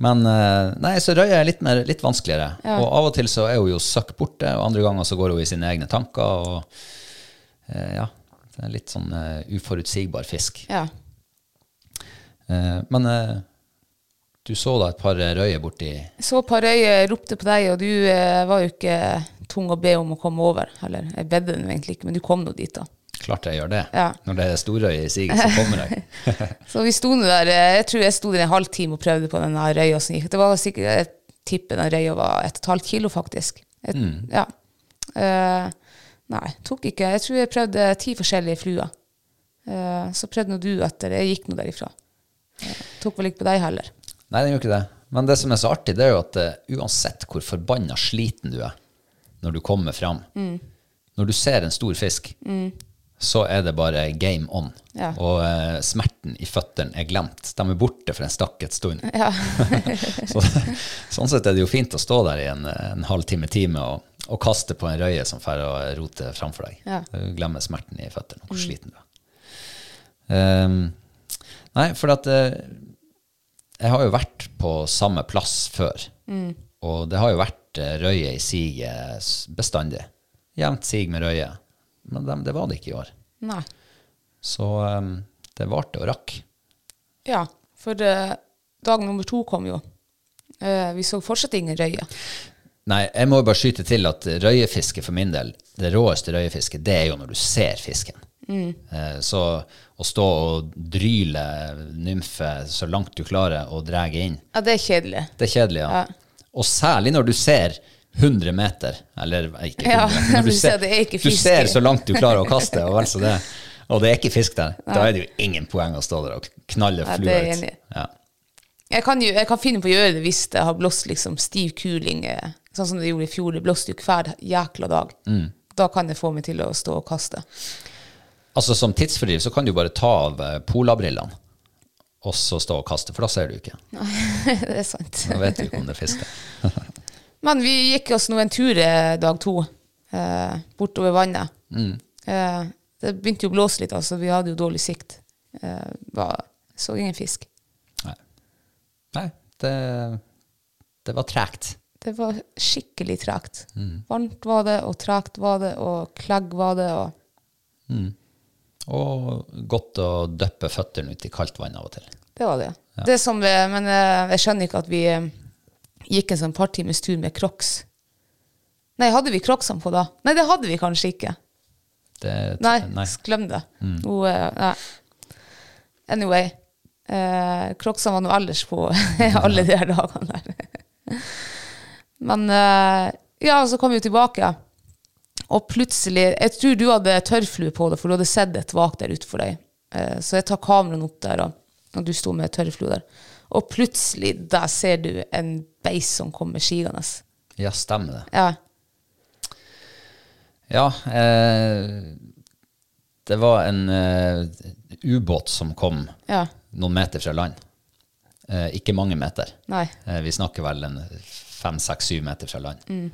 Speaker 1: Men eh, nei, så røya er litt, mer, litt vanskeligere.
Speaker 2: Ja.
Speaker 1: Og av og til så er hun jo søkk borte, og andre ganger så går hun i sine egne tanker, og eh, ja, det er litt sånn eh, uforutsigbar fisk.
Speaker 2: Ja.
Speaker 1: Eh, men eh, du så da et par eh, røyer borti,
Speaker 2: Så på Røye ropte på deg, og du eh, var jo ikke tung å be om å komme over. Eller jeg bedde den jo egentlig ikke, men du kom nå dit, da.
Speaker 1: klart jeg gjør det.
Speaker 2: Ja.
Speaker 1: Når det er storrøye i siget, så kommer jeg.
Speaker 2: Så vi sto nå der, eh, jeg tror jeg sto der en halv time og prøvde på den her røya som gikk. Det var sikkert, jeg tipper den røya var et og et halvt kilo faktisk. Et, Ja. Eh, nei, tok ikke. Jeg tror jeg prøvde ti forskjellige fluer. Eh, så prøvde nå du etter, jeg gikk nå derifra. Eh, tok vel ikke på deg heller.
Speaker 1: Nei, den gjør ikke det. Men det som er så artig, det er jo at eh, uansett hvor forbanna sliten du er når du kommer fram, når du ser en stor fisk, så er det bare game on.
Speaker 2: Ja.
Speaker 1: Og eh, smerten i føttene er glemt. De er borte for en stakket stund. så, sånn sett er det jo fint å stå der i en, en halv time, time og, og kaste på en røye som fer og roter framfor deg.
Speaker 2: Ja.
Speaker 1: Du glemmer smerten i føttene og hvor sliten du er. Ehm, nei, for at eh, jeg har jo vært på samme plass før. Og det har jo vært eh, røye i siget s- bestandig. Jevnt sig med røye. Men dem- det var det ikke i år.
Speaker 2: Nei.
Speaker 1: Så eh, det varte og rakk.
Speaker 2: Ja, for eh, dag nummer to kom jo. Eh, vi så fortsatt ingen røye.
Speaker 1: Nei, jeg må jo bare skyte til at røyefiske for min del, det råeste røyefisket, det er jo når du ser fisken.
Speaker 2: Mm.
Speaker 1: Eh, Så å stå og dryle nymfe så langt du klarer og dra inn,
Speaker 2: Ja, det er kjedelig.
Speaker 1: Det er kjedelig, ja. Og særlig når du ser 100 meter, eller ikke 100
Speaker 2: Ja,
Speaker 1: meter, når
Speaker 2: du ser det er ikke
Speaker 1: du
Speaker 2: fisk i.
Speaker 1: ser så langt du klarer å kaste, og vel så det. Og det er ikke fisk der. Da er det jo ingen poeng å stå der og knalle
Speaker 2: Ja, det
Speaker 1: flua
Speaker 2: er
Speaker 1: ut.
Speaker 2: jeg enig i.
Speaker 1: Ja.
Speaker 2: Jeg kan, jo, jeg kan finne på å gjøre det hvis det har blåst liksom stiv kuling, eh, sånn som det gjorde i fjor. Det blåste jo hver jækla dag. Da kan jeg få meg til å stå og kaste.
Speaker 1: Altså Som tidsfordriv så kan du bare ta av eh, polabrillene og så stå og kaste, for da ser du ikke.
Speaker 2: det er sant.
Speaker 1: Da vet du ikke om det er fisk der.
Speaker 2: Men vi gikk oss nå en tur eh, dag to, eh, bortover vannet. Eh, det begynte jo å blåse litt, altså. Vi hadde jo dårlig sikt. Eh, var, så ingen fisk.
Speaker 1: Nei, Nei det, det var tregt.
Speaker 2: Det var skikkelig tregt. Varmt var det, og tregt var det, og klegg var det. og...
Speaker 1: Og godt å dyppe føttene ut i kaldt vann av og til.
Speaker 2: Det var det. det som, eh, men eh, jeg skjønner ikke at vi eh, gikk en sånn par times tur med crocs. Nei, hadde vi crocsene på da? Nei, det hadde vi kanskje ikke.
Speaker 1: Det,
Speaker 2: Nei, glem det. Nå, eh, nei. Anyway. Eh, crocsene var nå ellers på alle de her dagene der. Men eh, ja, så kom vi jo tilbake. Og plutselig Jeg tror du hadde tørrflue på deg, for du hadde sett et vak der ute for deg. Eh, så jeg tar kameraet opp der, og, og du sto med tørrflue der. Og plutselig, der ser du en beis som kommer sigende.
Speaker 1: Ja, stemmer det.
Speaker 2: Ja.
Speaker 1: Ja, eh, det var en eh, ubåt som kom
Speaker 2: Ja.
Speaker 1: noen meter fra land. Eh, ikke mange meter.
Speaker 2: Nei.
Speaker 1: Eh, vi snakker vel en fem, seks, syv meter fra land.
Speaker 2: Mm.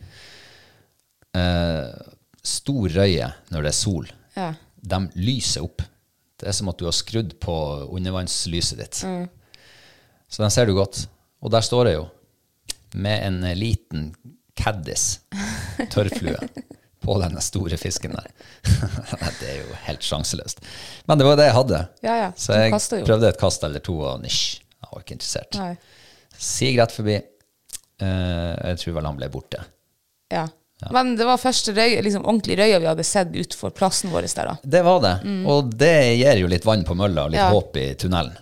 Speaker 1: Eh, stor røye når det er sol.
Speaker 2: Ja.
Speaker 1: De lyser opp. Det er som at du har skrudd på undervannslyset ditt.
Speaker 2: Mm.
Speaker 1: Så den ser du godt. Og der står jeg jo med en liten caddis, tørrflue, på denne store fisken der. det er jo helt sjanseløst. Men det var det jeg hadde.
Speaker 2: Ja, ja.
Speaker 1: Så
Speaker 2: Du
Speaker 1: jeg
Speaker 2: kastet jo.
Speaker 1: prøvde et kast eller to, og nisj, jeg var ikke interessert.
Speaker 2: Nei.
Speaker 1: Sig rett forbi. Eh, jeg tror vel han ble borte.
Speaker 2: Ja. Men det var første røy, liksom, ordentlig røya vi hadde sett utenfor plassen vår der, da.
Speaker 1: Det var det, og det gir jo litt vann på mølla og litt
Speaker 2: Ja.
Speaker 1: håp i tunnelen.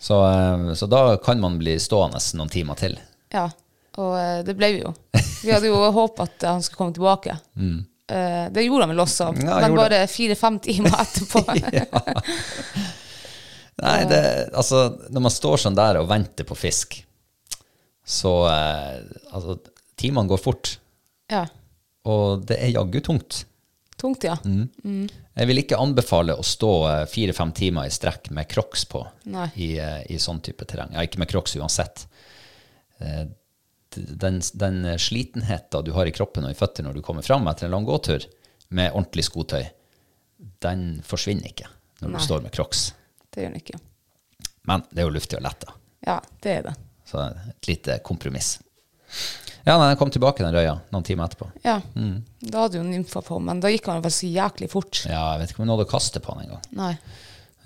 Speaker 1: Så, eh, så da kan man bli stående noen timer til.
Speaker 2: Ja. Og eh, det ble vi jo. Vi hadde jo håp at han skulle komme tilbake. Eh, det gjorde han vel også,
Speaker 1: Mm. Ja,
Speaker 2: men
Speaker 1: gjorde
Speaker 2: bare fire-fem timer etterpå.
Speaker 1: Nei, det, altså, når man står sånn der og venter på fisk, så eh, Altså, timene går fort,
Speaker 2: ja.
Speaker 1: og det er jaggu tungt.
Speaker 2: Tungt, ja.
Speaker 1: Mm. Jeg vil ikke anbefale å stå eh, fire-fem timer i strekk med crocs på
Speaker 2: Nei.
Speaker 1: i, eh, i sånn type terreng. Ja, ikke med crocs uansett. Eh, d- Den, den slitenheten du har i kroppen og i føttene når du kommer fram etter en lang gåtur med ordentlig skotøy, den forsvinner ikke når
Speaker 2: Nei.
Speaker 1: du står med crocs.
Speaker 2: Det gjør han ikke.
Speaker 1: Men det er jo luftig og lett, da.
Speaker 2: Ja, det er det.
Speaker 1: Så et lite kompromiss. Ja, nei, den kom tilbake, den røya, noen timer etterpå.
Speaker 2: Ja. Da hadde jo nymfa på, men da gikk han vel så jæklig fort.
Speaker 1: Mm. Ja, jeg vet ikke om jeg nådde å kaste på den engang.
Speaker 2: Nei.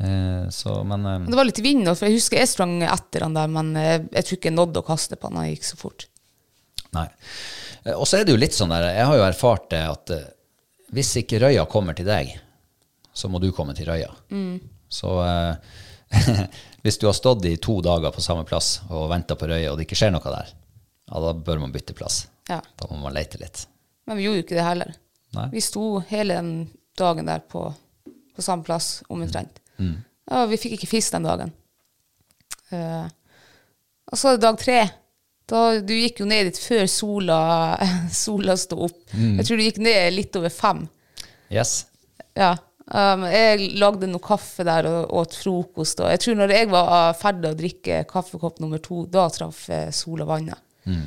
Speaker 1: Eh, så, men eh,
Speaker 2: Men Det var litt vind, da, for jeg husker jeg sprang etter han der, men eh, jeg tror ikke jeg nådde å kaste på han, han gikk så fort.
Speaker 1: Nei. Eh, Og så er det jo litt sånn der, jeg har jo erfart det at eh, hvis ikke røya kommer til deg, så må du komme til røya. Så eh, hvis du har stått i to dager på samme plass og venta på røya, og det ikke skjer noe der, ja, da bør man bytte plass.
Speaker 2: Ja.
Speaker 1: Da må man leite litt.
Speaker 2: Men vi gjorde jo ikke det heller.
Speaker 1: Nei.
Speaker 2: Vi sto hele den dagen der på, på samme plass, omtrent. Ja, vi fikk ikke fisk den dagen. Eh, og så er det dag tre. Da, du gikk jo ned dit før sola, sola sto opp. Jeg tror du gikk ned litt over fem.
Speaker 1: Yes.
Speaker 2: Ja. Um, jeg lagde noe kaffe der og åt frokost. Og jeg tror når jeg var ferdig å drikke kaffekopp nummer to, da traff eh, sola vannet. Um,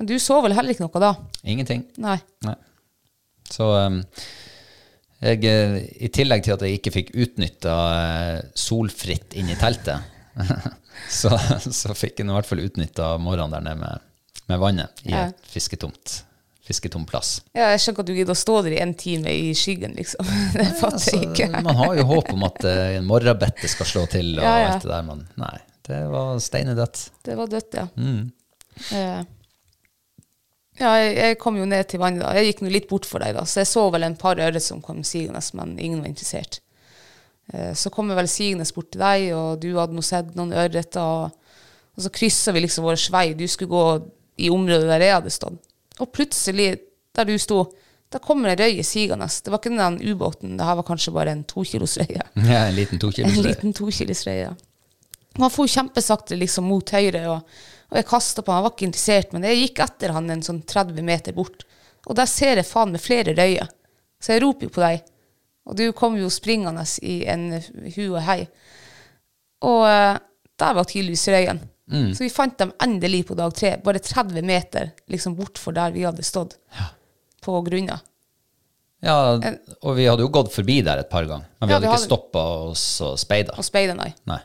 Speaker 2: men du så vel heller ikke noe da?
Speaker 1: Ingenting.
Speaker 2: Nei.
Speaker 1: Nei. Så um, jeg, eh, i tillegg til at jeg ikke fikk utnytta solfritt inn i teltet, så, så fikk jeg nå i hvert fall utnytta morgenen der nede med, med vannet i
Speaker 2: Ja.
Speaker 1: et fisketomt, fisketom plass.
Speaker 2: Ja, jeg skjønner ikke at du gidder å stå der i en time i skyggen, liksom. Det fatter jeg
Speaker 1: Altså,
Speaker 2: ikke.
Speaker 1: man har jo håp om at eh, en morgenbette skal slå til og
Speaker 2: Ja, ja.
Speaker 1: alt det der, men nei, det var steinedødt.
Speaker 2: Det var dødt, ja. Eh, ja, jeg, jeg kom jo ned til vannet da. Jeg gikk nå litt bort for deg da, så jeg så vel en par øre som kom sigende, men ingen var interessert. Eh, så kom jeg vel sigende bort til deg, og du hadde nå sett noen ørreter, og, og så kryssa vi liksom vår vei. Du skulle gå i området der jeg hadde stått. Og plutselig, der du sto, da kommer en røye sigende. Det var ikke den der ubåten, det her var kanskje bare en tokilosrøye.
Speaker 1: Ja, en liten
Speaker 2: En
Speaker 1: tokilosrøy.
Speaker 2: liten tokilosrøye. Og Han for kjempesakte liksom mot høyre, og, og jeg kasta på han. Han var ikke interessert, men jeg gikk etter han en sånn 30 meter bort. Og der ser jeg faen meg flere røyer. Så jeg roper jo på deg. Og du kom jo springende i en hu og hei. Og eh, der var tydeligvis røyen. Så vi fant dem endelig på dag tre, bare 30 meter liksom bortfor der vi hadde stått. På grunna.
Speaker 1: Ja, og vi hadde jo gått forbi der et par ganger, men vi
Speaker 2: Ja,
Speaker 1: hadde
Speaker 2: vi
Speaker 1: ikke
Speaker 2: hadde-
Speaker 1: stoppa oss og speida.
Speaker 2: Og speiderne.
Speaker 1: Nei.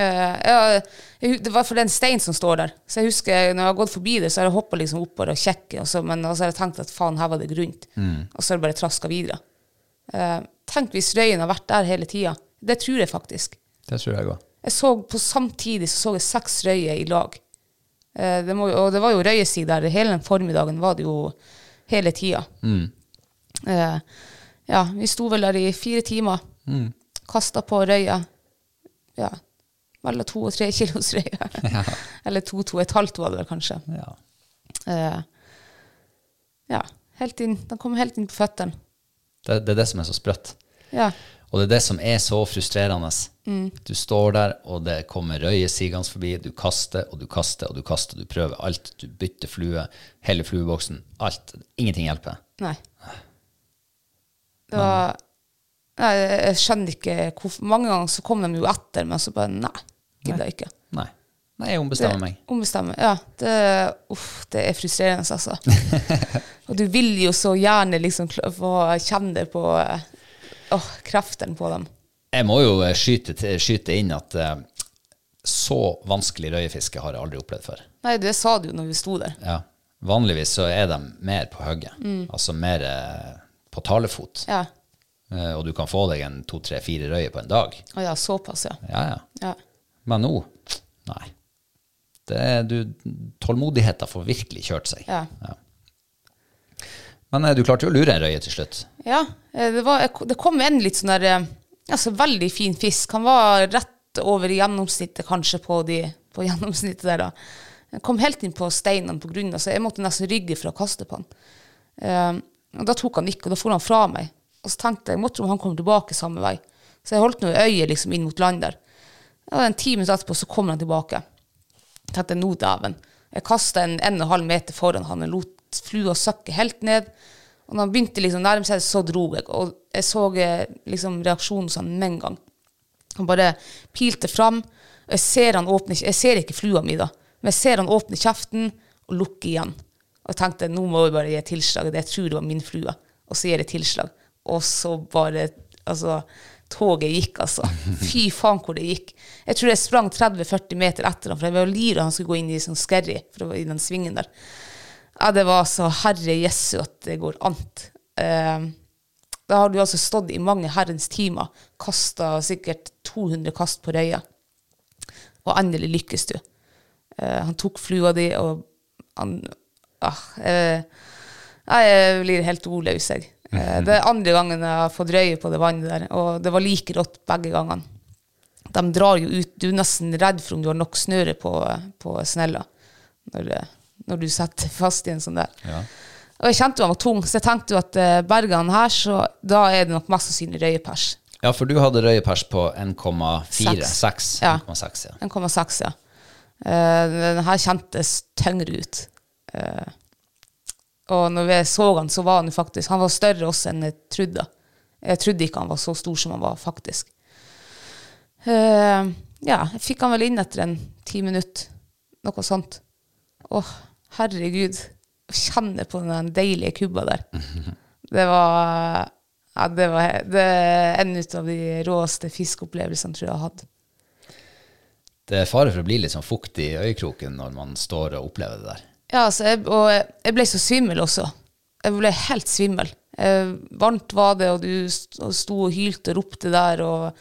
Speaker 2: Eh, ja, jeg, hu- det var for det er en stein som står der. Så jeg husker når jeg har gått forbi det, så har jeg hoppa liksom opp og kjekket, og så, men så har jeg tenkt at faen, her var det grunt. Og så har jeg bare traska videre. Eh, tenk hvis røyen har vært der hele tida. Det tror jeg faktisk.
Speaker 1: Det tror jeg òg.
Speaker 2: Jeg så på Samtidig så så jeg seks røyer i lag. Eh, det må, jo- og det var jo røyesig der. Hele den formiddagen var det jo hele tida. Eh, ja, vi sto vel der i fire timer. Mm. Kasta på røya. Ja, mellom to og tre kilos røye. Eller to, to og et halvt var det vel kanskje.
Speaker 1: Ja.
Speaker 2: Eh, ja, helt inn. Den kom helt inn på føttene.
Speaker 1: Det, det er det som er så sprøtt.
Speaker 2: Ja.
Speaker 1: Og det er det som er så frustrerende.
Speaker 2: Mm.
Speaker 1: Du står der, og det kommer røye sigende forbi. Du kaster og du kaster og du kaster. Du prøver alt. Du bytter flue, hele flueboksen. Alt. Ingenting hjelper.
Speaker 2: Nei. Det var Nei, jeg skjønner ikke hvorfor Mange ganger så kom de jo etter, men så bare Nei, gidder jeg ikke.
Speaker 1: Nei. Nei, jeg
Speaker 2: Det-
Speaker 1: ombestemmer meg.
Speaker 2: Ombestemme. Ja. Det, uff, det er frustrerende, altså. Og du vil jo så gjerne liksom kl- få kjenne det på eh, Åh, kreftene på dem.
Speaker 1: Jeg må jo eh, skyte, til- skyte inn at eh, så vanskelig røyefiske har jeg aldri opplevd før.
Speaker 2: Nei, det sa du jo når vi sto der.
Speaker 1: Ja. Vanligvis så er de mer på hugget, altså mer eh, på talefot.
Speaker 2: Mm. Ja.
Speaker 1: Eh, Og du kan få deg en to, tre, fire røye på en dag.
Speaker 2: Å ja, såpass, ja.
Speaker 1: Ja, ja.
Speaker 2: ja.
Speaker 1: Men nå, nei. Det er, du, tålmodigheten får virkelig kjørt seg.
Speaker 2: Ja.
Speaker 1: Men eh, du klarte jo å lure en røye til slutt.
Speaker 2: Ja, eh, det, var, det kom en litt sånn der eh, altså, Veldig fin fisk. Han var rett over i gjennomsnittet, kanskje, på, de, på gjennomsnittet der, da. Han kom helt inn på steinene på grunnen, så jeg måtte nesten rygge for å kaste på han. Eh, og da tok han ikke, og da for han fra meg. Og så tenkte jeg, måtte om han kom tilbake samme vei. Så jeg holdt nå øyet liksom inn mot land der. Og en ti minutter etterpå så kommer han tilbake. Jeg tenkte nå dæven. Jeg kasta en en og en halv meter foran han og lot flua søkke helt ned. Og når han begynte liksom nærme seg, så dro jeg. Og jeg så eh, liksom reaksjonen sånn med en gang. Han bare pilte fram. Og jeg ser han åpne Jeg ser ikke flua mi, da. Men jeg ser han åpne kjeften og lukke igjen. Og jeg tenkte nå må vi bare gi tilslag. Det jeg tror det var min flue. Og så gir jeg tilslag. Og så bare Altså, toget gikk, altså. Fy faen hvor det gikk. Jeg tror jeg sprang 30-40 meter etter han, for jeg var livredd han skulle gå inn i sånn skerry for det var i den svingen der. Ja, det var så herre jesu at det går ant. Eh, da har du altså stått i mange herrens timer, kasta sikkert 200 kast på røya, og endelig lykkes du. Eh, han tok flua di, og han ah, eh, Nei, Jeg blir helt ordløs, jeg. Eh, det er andre gangen jeg har fått røye på det vannet der, og det var like rått begge gangene. De drar jo ut, du er nesten redd for om du har nok snøre på, på snella når, eh, når du setter fast i en sånn der. Og jeg kjente jo han var tung, så jeg tenkte jo at eh, berger han her, så da er det nok mest sannsynlig røyepers.
Speaker 1: Ja, for du hadde røyepers på 1,4.
Speaker 2: Seks.
Speaker 1: 6.
Speaker 2: Ja.
Speaker 1: 1,6, ja.
Speaker 2: 1,6, ja. Eh, den her kjentes tyngre ut. Eh, og når jeg så han, så var han jo faktisk Han var større også enn jeg trodde. Jeg trodde ikke han var så stor som han var, faktisk. Eh, ja, jeg fikk han vel inn etter en ti minutter, noe sånt. Å, herregud. Å kjenne på den deilige kubba der. Det var ja, det var det er en ut av de råeste fiskeopplevelsene tror jeg jeg har hatt.
Speaker 1: Det er fare for å bli litt sånn fuktig i øyekroken når man står og opplever det der.
Speaker 2: Ja, altså, jeg, og jeg- jeg ble så svimmel også. Jeg ble helt svimmel. Eh, varmt var det, og du st- sto og hylte og ropte der, og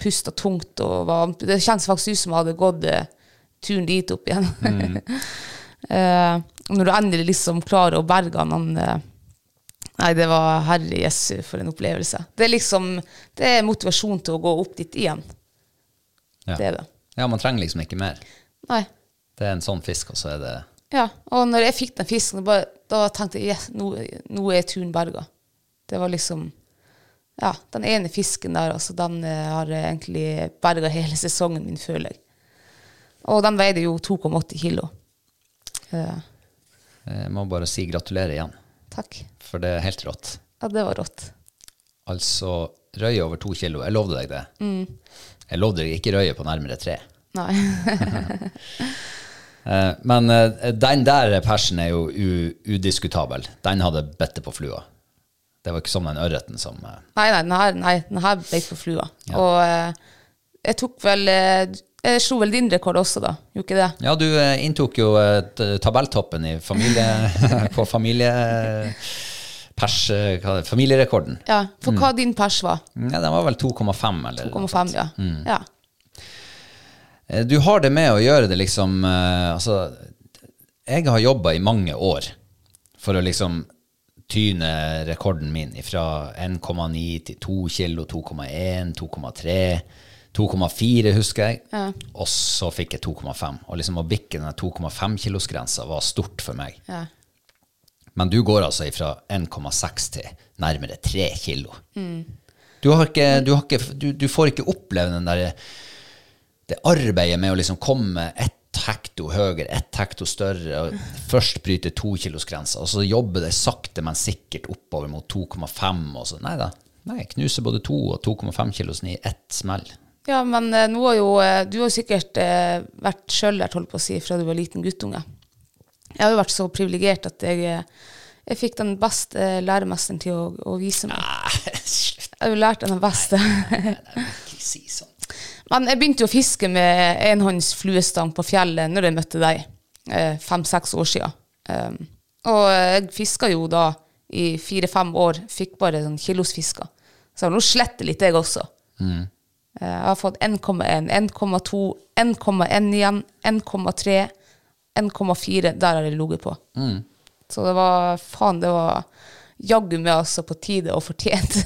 Speaker 2: pusta tungt. Og var, det kjennes faktisk ut som jeg hadde gått eh, turen dit opp igjen. eh, og når du endelig liksom klarer å berge han, han eh, Nei, det var herre jesu for en opplevelse. Det er liksom, det er motivasjon til å gå opp dit igjen.
Speaker 1: Ja.
Speaker 2: Det er det.
Speaker 1: Ja, man trenger liksom ikke mer.
Speaker 2: Nei.
Speaker 1: Det er en sånn fisk, og så er det
Speaker 2: Ja, og når jeg fikk den fisken, bare, da tenkte jeg yes, nå, nå er turen berga. Det var liksom Ja, den ene fisken der, altså, den eh, har egentlig berga hele sesongen min, føler jeg. Og den veide jo 2,8 kilo. Eh,
Speaker 1: eh, Jeg må bare si gratulerer igjen,
Speaker 2: takk.
Speaker 1: for det er helt rått.
Speaker 2: Ja, det var rått.
Speaker 1: Altså, røye over to kilo. Jeg lovde deg det.
Speaker 2: Mm.
Speaker 1: Jeg lovde deg ikke røye på nærmere tre.
Speaker 2: Nei.
Speaker 1: Eh, Men eh, den der persen er jo u udiskutabel. Den hadde bitte på flua. Det var ikke som den ørreten som eh,
Speaker 2: Nei, nei, den her, nei, den her beit på flua. Og eh, jeg tok vel eh, Jeg slo vel din rekord også, da. Gjorde ikke det?
Speaker 1: Ja, du eh, inntok jo eh, t- tabelltoppen i familie, på familie, eh, pers, eh, hva er det, familierekorden.
Speaker 2: Ja. For hva din pers var?
Speaker 1: Ja, den var vel 2,5 eller
Speaker 2: 2,5, ja. ja.
Speaker 1: Eh, Du har det med å gjøre det liksom eh, Altså, jeg har jobba i mange år for å liksom tyne rekorden min fra 1,9 til 2 kilo, 2,1, 2,3, 2,4 husker jeg. Og så fikk jeg 2,5. Og liksom å bikke denne 2,5 kilos-grensa var stort for meg.
Speaker 2: ja.
Speaker 1: Men du går altså fra 1,6 til nærmere 3 kilo. Du, har ikke, du, har ikke, du, du får ikke oppleve den der, det arbeidet med å liksom komme ett hekto høyere, ett hekto større, og først bryte tokilosgrensa, og så jobbe det sakte, men sikkert oppover mot 2,5. og så, Nei da. Nei, knuse både 2 og 2,5 kilosen i ett smell.
Speaker 2: Ja, men eh, nå har jo, eh, du har jo sikkert eh, vært sjøllært, holdt på å si, fra du var liten guttunge. Jeg har jo vært så privilegert at jeg, eh, jeg fikk den beste eh, læremesteren til å, å vise meg.
Speaker 1: Slutt,
Speaker 2: Jeg har jo lært den den beste.
Speaker 1: ikke si sånn.
Speaker 2: Men jeg begynte jo å fiske med enhånds fluestang på fjellet når jeg møtte deg. Fem-seks år eh, siden. Um, Og eh, jeg fiska jo da i fire-fem år. Fikk bare sånn kilosfisker. Så nå sletter litt, jeg også. Eh, Jeg har fått 1,1, 1,2, 1,1 igjen, 1,3, 1,4. Der har jeg ligget på. Så det var faen, det var jaggu meg altså på tide og fortjent.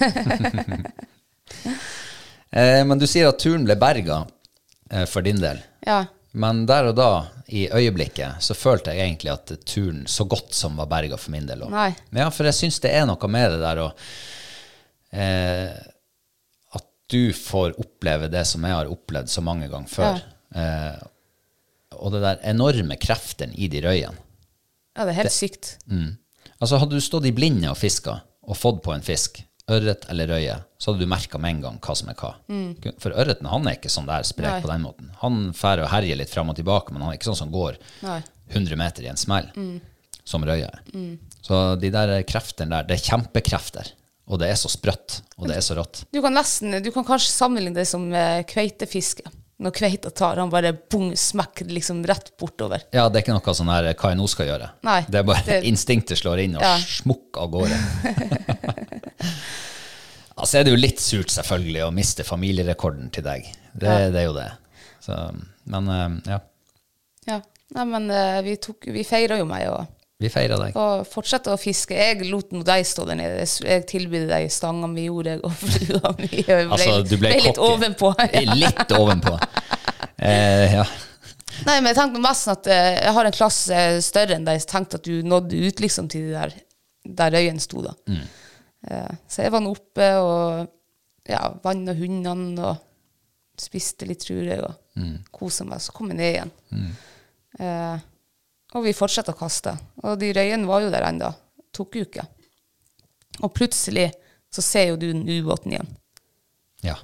Speaker 1: Eh, men du sier at turen ble berga eh, for din del.
Speaker 2: ja.
Speaker 1: Men der og da, i øyeblikket, så følte jeg egentlig at turen så godt som var berga for min del òg.
Speaker 2: Nei.
Speaker 1: Ja, for jeg syns det er noe med det der å eh, At du får oppleve det som jeg har opplevd så mange ganger før. Eh, og det der enorme kreftene i de røyene.
Speaker 2: ja, det er helt sykt.
Speaker 1: Altså Hadde du stått i blinde og fiska og fått på en fisk, ørret eller røye, så hadde du merka med en gang hva som er hva. For ørreten han er ikke sånn der sprek
Speaker 2: Mm. Nei.
Speaker 1: på den måten. Han fær og herjer litt fram og tilbake, men han er ikke sånn som går
Speaker 2: Nei. Mm.
Speaker 1: 100 meter i en smell, som røye er. Så de der kreftene der, det er kjempekrefter. Og det er så sprøtt, og det er så rått.
Speaker 2: Du kan, nesten, du kan kanskje sammenligne det som eh, kveitefiske. Når kveita tar, han bare bong, smekk, liksom rett bortover.
Speaker 1: Ja, det er ikke noe sånn her hva jeg nå skal gjøre.
Speaker 2: Nei,
Speaker 1: det er bare
Speaker 2: det-
Speaker 1: instinktet slår inn og
Speaker 2: Ja.
Speaker 1: smukk av gårde. altså er det jo litt surt selvfølgelig å miste familierekorden til deg. Det, det er jo det. Så, men eh, ja,
Speaker 2: Ja. Nei, men eh, vi, tok, vi feira jo meg, og,
Speaker 1: vi feirer deg.
Speaker 2: og fortsatte å fiske. Jeg lot nå deg stå der nede. Jeg s- Jeg tilbød deg stanga mi, gjorde jeg, og flua mi. Jeg ble,
Speaker 1: Altså, du ble,
Speaker 2: litt
Speaker 1: cocky.
Speaker 2: ovenpå. Ja.
Speaker 1: litt ovenpå. Eh, ja.
Speaker 2: Nei, men jeg tenkte mest at eh, jeg har en klasse større enn deg, så jeg tenkte at du nådde ut liksom til de der, der øyen sto, da. Eh, så jeg var nå oppe og ja, vanna hundene og spiste litt, tror jeg, og kosa meg. Så kom jeg ned igjen. Eh, og vi fortsatte å kaste. Og de røyene var jo der ennå. Tok jo ikke. Og plutselig så ser jo du den ubåten igjen.
Speaker 1: Ja.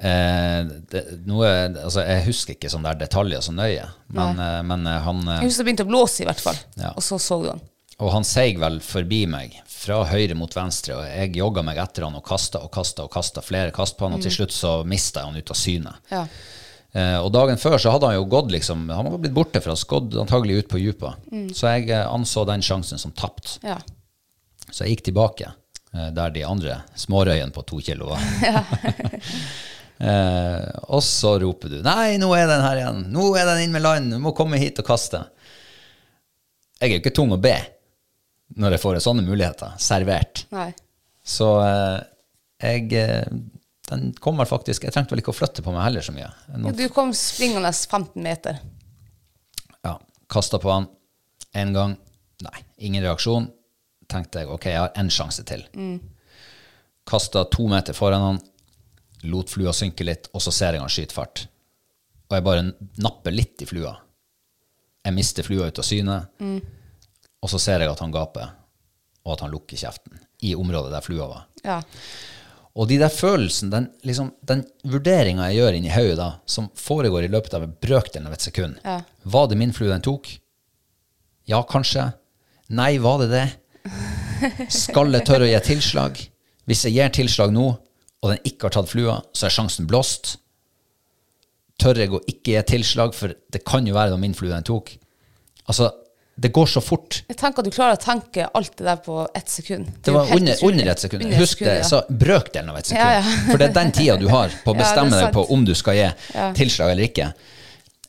Speaker 1: Eh, det, noe, altså, jeg husker ikke sånne der detaljer så nøye, men, eh, men eh, han eh,
Speaker 2: Jeg husker det begynte å blåse, i hvert fall.
Speaker 1: Ja.
Speaker 2: Og så så du den.
Speaker 1: Og han seig vel forbi meg, fra høyre mot venstre, og jeg jogga meg etter han og kasta og kasta og kasta flere kast på han, og til slutt så mista jeg han ut av syne.
Speaker 2: Ja.
Speaker 1: Eh, og dagen før så hadde han jo gått liksom, han var blitt borte fra oss, gått antagelig ut på dypa. Så jeg eh, anså den sjansen som tapt.
Speaker 2: ja.
Speaker 1: Så jeg gikk tilbake eh, der de andre smårøyene på to kilo var. eh, og så roper du 'Nei, nå er den her igjen! Nå er den inn med land! Du må komme hit og kaste!' Jeg er jo ikke tung å be når jeg får sånne muligheter servert.
Speaker 2: Nei.
Speaker 1: Så eh, jeg eh, Den kommer faktisk Jeg trengte vel ikke å flytte på meg heller så mye.
Speaker 2: Ja,
Speaker 1: Noen,
Speaker 2: Du kom springende 15 meter.
Speaker 1: ja, Kasta på han én gang. Nei, ingen reaksjon. Tenkte jeg ok, jeg har én sjanse til. Kasta to meter foran han, lot flua synke litt, og så ser jeg han skyter fart. Og jeg bare napper litt i flua. Jeg mister flua ut av syne, og så ser jeg at han gaper, og at han lukker kjeften i området der flua var.
Speaker 2: Ja.
Speaker 1: Og de der følelsene, den, liksom, den vurderinga jeg gjør inni hodet da, som foregår i løpet av en brøkdel av et sekund
Speaker 2: Ja.
Speaker 1: Var det min flue den tok? Ja, kanskje. Nei, var det det? Skal jeg tørre å gi tilslag? Hvis jeg gir tilslag nå, og den ikke har tatt flua, så er sjansen blåst. Tør jeg å ikke gi tilslag, for det kan jo være det var min flue den tok? Altså, det går så fort.
Speaker 2: Jeg tenker at du klarer å tenke alt det der på ett sekund.
Speaker 1: Det
Speaker 2: er jo
Speaker 1: var
Speaker 2: helt
Speaker 1: under,
Speaker 2: utrolig.
Speaker 1: under et sekund.
Speaker 2: Under et
Speaker 1: Husk det,
Speaker 2: sekund,
Speaker 1: jeg sa brøkdelen av et sekund.
Speaker 2: Ja, ja.
Speaker 1: For det er den tida du har på å
Speaker 2: Ja, det er
Speaker 1: bestemme deg
Speaker 2: sant.
Speaker 1: på om du skal gi tilslag eller ikke.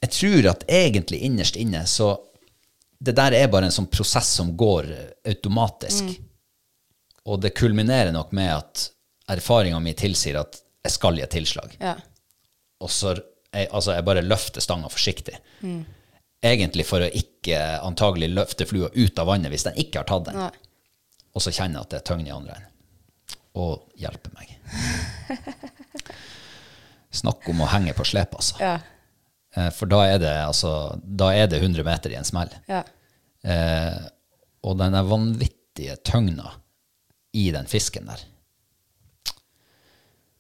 Speaker 1: Jeg tror at egentlig innerst inne så Det der er bare en sånn prosess som går eh, automatisk.
Speaker 2: Mm.
Speaker 1: Og det kulminerer nok med at erfaringa mi tilsier at jeg skal gi tilslag.
Speaker 2: Ja.
Speaker 1: Og så jeg, altså jeg bare løfter stanga forsiktig.
Speaker 2: Mm.
Speaker 1: Egentlig for å ikke antagelig løfte flua ut av vannet hvis den ikke har tatt den.
Speaker 2: Nei.
Speaker 1: Og så kjenner jeg at det er tøgn i andre enden. Og hjelper meg. Snakk om å henge på slep, altså.
Speaker 2: Ja.
Speaker 1: Eh, For da er, det, altså, da er det 100 meter i en smell.
Speaker 2: Ja.
Speaker 1: Eh, og den der vanvittige tøgna i den fisken der.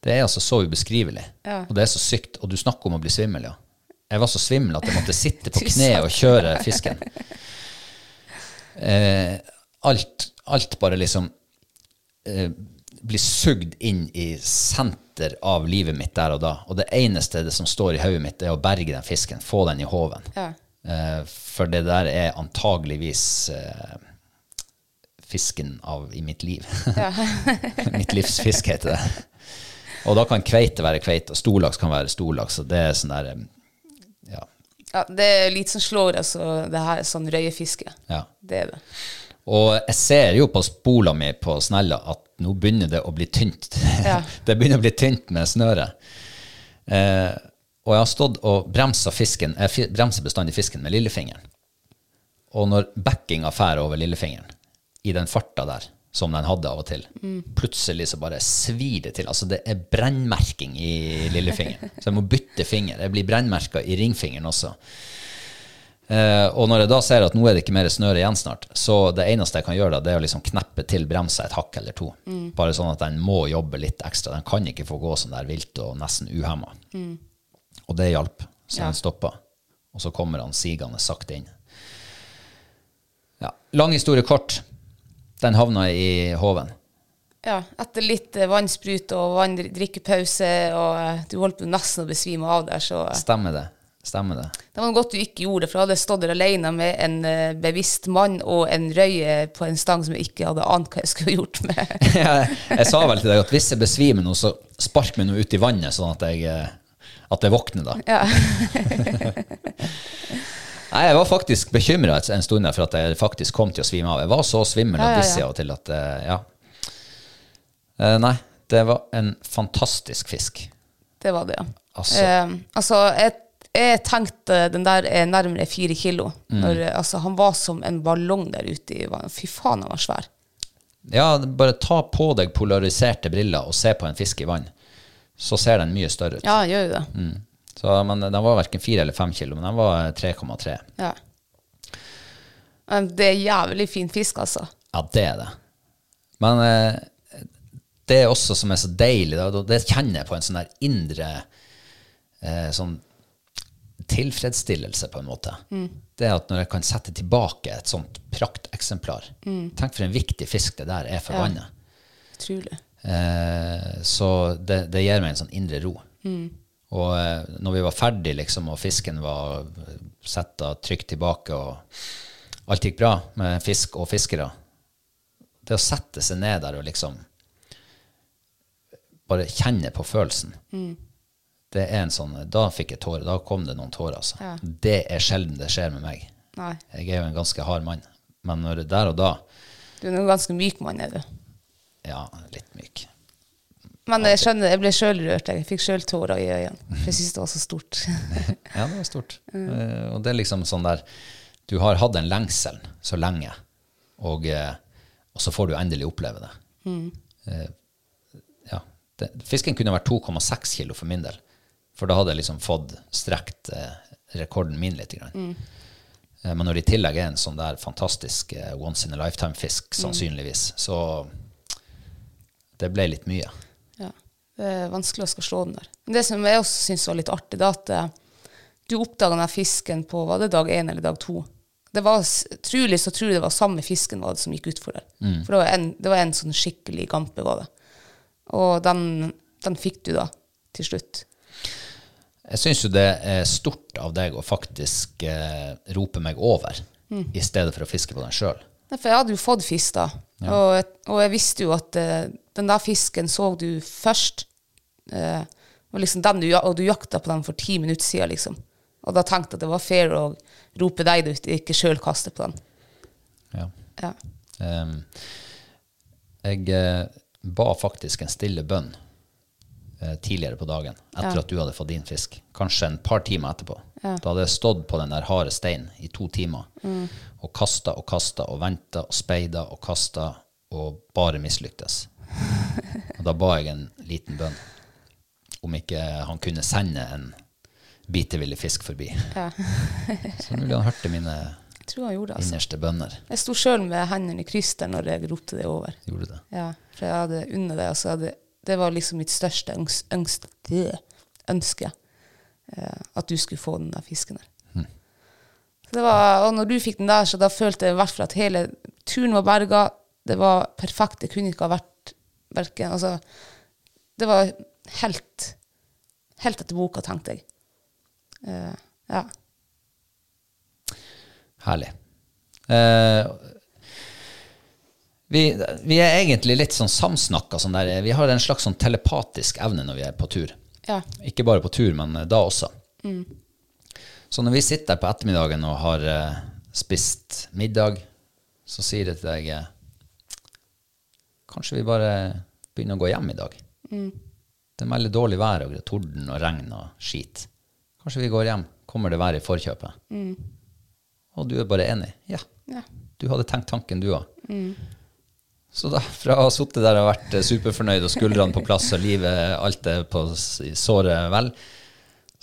Speaker 1: Det er altså så ubeskrivelig, og det er så sykt. Og du snakker om å bli svimmel, ja. Jeg var så svimmel at jeg måtte sitte på
Speaker 2: Du
Speaker 1: kne og kjøre fisken. Eh, alt, alt bare liksom eh, blir sugd inn i senter av livet mitt der og da. Og det eneste det som står i hodet mitt, er å berge den fisken, få den i håven.
Speaker 2: Ja.
Speaker 1: Eh, for det der er antageligvis eh, fisken av, i mitt liv. mitt livs fisk heter det. Og da kan kveite være kveite, og storlaks kan være storlaks. Og det er sånn der eh, Ja.
Speaker 2: Ja, det er litt som slår, altså, det her er sånn røyefiske.
Speaker 1: ja.
Speaker 2: Det er det.
Speaker 1: Og jeg ser jo på spola mi på snella at nå begynner det å bli tynt. det begynner å bli tynt med snøret. Eh, og jeg har stått og bremsa fisken, jeg fi- bremser bestandig fisken med lillefingeren. Og når backinga fær over lillefingeren, i den farta der, som den hadde av og til, plutselig så bare svir det til. Altså det er brennmerking i lillefingeren. Så jeg må bytte finger. Jeg blir brennmerka i ringfingeren også. Eh, og når jeg da ser at nå er det ikke mer snøre igjen snart, så det eneste jeg kan gjøre da, det er å liksom kneppe til bremsa et hakk eller to. Bare sånn at den må jobbe litt ekstra. Den kan ikke få gå sånn der vilt og nesten uhemma. Og det hjalp, så den stoppa. Og så kommer han sigende sakte inn. Ja, lang historie kort. Den havna i håven.
Speaker 2: Ja, etter litt eh, vannsprut og vann, drikkepause, og eh, du holdt på nesten å besvime av der, så eh,
Speaker 1: Stemmer det? Stemmer det?
Speaker 2: det var godt du ikke gjorde det, for da hadde jeg stått der alene med en eh, bevisst mann og en røye på en stang som jeg ikke hadde ant hva jeg skulle gjort med.
Speaker 1: jeg, jeg sa vel til deg at hvis jeg besvimer nå, så spark meg nå ut i vannet, sånn at jeg, eh, at jeg våkner da. Nei, jeg var faktisk bekymra en stund der for at jeg faktisk kom til å svime av. Jeg var så svimmel
Speaker 2: Ja, ja,
Speaker 1: og
Speaker 2: ja.
Speaker 1: dissig av og til at eh, Ja. Eh, Nei, det var en fantastisk fisk.
Speaker 2: Det var det, ja.
Speaker 1: Altså.
Speaker 2: Eh, altså jeg, jeg tenkte den der er nærmere fire kilo. Når, eh, altså, han var som en ballong der ute i vannet. Fy faen, han var svær.
Speaker 1: Ja, bare ta på deg polariserte briller og se på en fisk i vann. Så ser den mye større ut.
Speaker 2: Ja, han gjør jo det.
Speaker 1: Så, men den var verken fire eller fem kilo, men den var eh, 3,3.
Speaker 2: Ja. Men det er jævlig fin fisk, altså.
Speaker 1: Ja, det er det. Men eh, det er også som er så deilig, da, det kjenner jeg på en sånn der indre eh, sånn tilfredsstillelse, på en måte. Det er at når jeg kan sette tilbake et sånt prakteksemplar Tenk for en viktig fisk det der er for vannet.
Speaker 2: Utrolig.
Speaker 1: Eh, så det, det gir meg en sånn indre ro. Og eh, når vi var ferdig, liksom, og fisken var setta trygt tilbake, og alt gikk bra med fisk og fiskere Det å sette seg ned der og liksom bare kjenne på følelsen Det er en sånn, Da fikk jeg tårer. Da kom det noen tårer. Altså. Det er sjelden det skjer med meg.
Speaker 2: Nei.
Speaker 1: Jeg er jo en ganske hard mann. Men når det der og da
Speaker 2: Du er en ganske myk mann, er du.
Speaker 1: Ja, litt myk.
Speaker 2: Men jeg skjønner, jeg ble sjøl rørt. Jeg fikk sjøl tårer i øynene. For jeg syns det var så stort.
Speaker 1: Ja, det var stort. Eh, og det er liksom sånn der Du har hatt den lengselen så lenge, og, eh, og så får du endelig oppleve det. Eh, ja. det fisken kunne vært 2,6 kilo for min del, for da hadde jeg liksom fått strekt eh, rekorden min litt. Grann. Eh, men når det i tillegg er en sånn der fantastisk eh, once in a lifetime-fisk, sannsynligvis, så det ble litt mye.
Speaker 2: Ja. Det er vanskelig å skal slå den der. Men det som jeg også syns var litt artig, det er at eh, du oppdaga den her fisken på var det dag én eller dag to. Det var s- Trolig så tror jeg det var samme fisken var det som gikk utfor der. For det var, en, det var en sånn skikkelig gampe, var det. Og den, den fikk du da, til slutt.
Speaker 1: Jeg syns jo det er stort av deg å faktisk eh, rope meg over, i stedet for å fiske på den sjøl.
Speaker 2: Nei, for jeg hadde jo fått fisk da, og, jeg- og jeg visste jo at eh, den der fisken så du først, eh, og, liksom den du, ja- og du jakta på den for ti minutter siden, liksom. Og da tenkte jeg at det var fair å rope deg ut, ikke sjøl kaste på den.
Speaker 1: Ja.
Speaker 2: Ja.
Speaker 1: Em, Ehm, jeg eh, ba faktisk en stille bønn eh, tidligere på dagen, etter at du hadde fått din fisk. Kanskje en par timer etterpå. Da hadde jeg stått på den der harde steinen i to timer og kasta og kasta og venta og speida og kasta og bare mislyktes. Og da ba jeg en liten bønn om ikke han kunne sende en bitevillig fisk forbi. Så mulig han hørte mine
Speaker 2: Jeg tror han gjorde det, altså.
Speaker 1: innerste bønner.
Speaker 2: Jeg sto sjøl med hendene i kryss der når jeg ropte det over.
Speaker 1: Gjorde det.
Speaker 2: Ja, for jeg hadde unna det, altså. jeg Hadde, det var liksom mitt største ønske, ønske, ønske eh, at du skulle få den der fisken der. Så det var, og når du fikk den der, så da følte jeg i hvert fall at hele turen var berga. Det var perfekt. Det kunne ikke ha vært verken Altså, det var helt, helt etter boka, tenkte jeg. Eh, ja.
Speaker 1: Herlig. Eh, vi, vi er egentlig litt sånn samsnakka. Sånn der. vi har en slags sånn telepatisk evne når vi er på tur.
Speaker 2: Ja.
Speaker 1: Ikke bare på tur, men eh, da også. Så når vi sitter der på ettermiddagen og har eh, spist middag, så sier det til deg eh, Kanskje vi bare begynner å gå hjem i dag. Det er veldig dårlig vær og torden og regn og skit. Kanskje vi går hjem. Kommer det vær i forkjøpet? Og du er bare enig. Ja.
Speaker 2: Ja.
Speaker 1: Du hadde tenkt tanken, du òg. Så da, fra å ha sittet der og vært eh, superfornøyd og skuldrene på plass og livet, alt er på s- såret vel,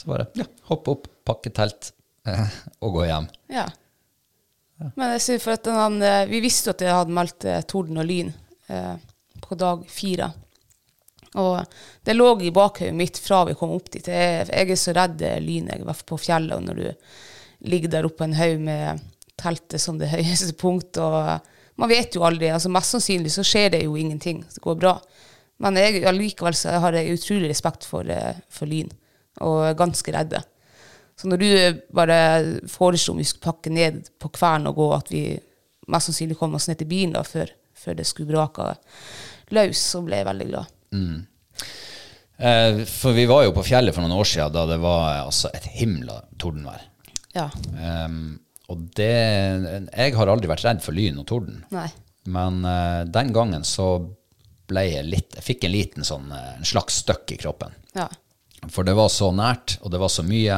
Speaker 1: så bare ja, hoppe opp, pakke telt eh, og gå hjem.
Speaker 2: Ja. Men jeg synes for at den, han, eh, vi visste jo at det hadde meldt eh, torden og lyn eh, på dag fire. Og det lå i bakhodet mitt fra vi kom opp dit. Jeg, jeg er så redd eh, lyn, jeg, i hvert fall på fjellet, og når du ligger der oppe en haug med teltet som det høyeste punkt, og eh, man vet jo aldri. Altså, mest sannsynlig så skjer det jo ingenting. Det går bra. Men jeg, allikevel så har jeg utrolig respekt for, eh, for lyn, og er ganske redde. Så når du eh, bare foreslo om vi skulle pakke ned på kvern og gå, at vi mest sannsynlig kom oss ned til bilen da, før, før det skulle brake løs, så ble jeg veldig glad.
Speaker 1: Eh, for vi var jo på fjellet for noen år siden da det var eh, altså et himla tordenvær.
Speaker 2: Ja.
Speaker 1: Ehm, og det Jeg har aldri vært redd for lyn og torden.
Speaker 2: Nei.
Speaker 1: Men eh, den gangen så ble jeg litt Jeg fikk en liten sånn eh, en slags støkk i kroppen.
Speaker 2: ja.
Speaker 1: For det var så nært, og det var så mye.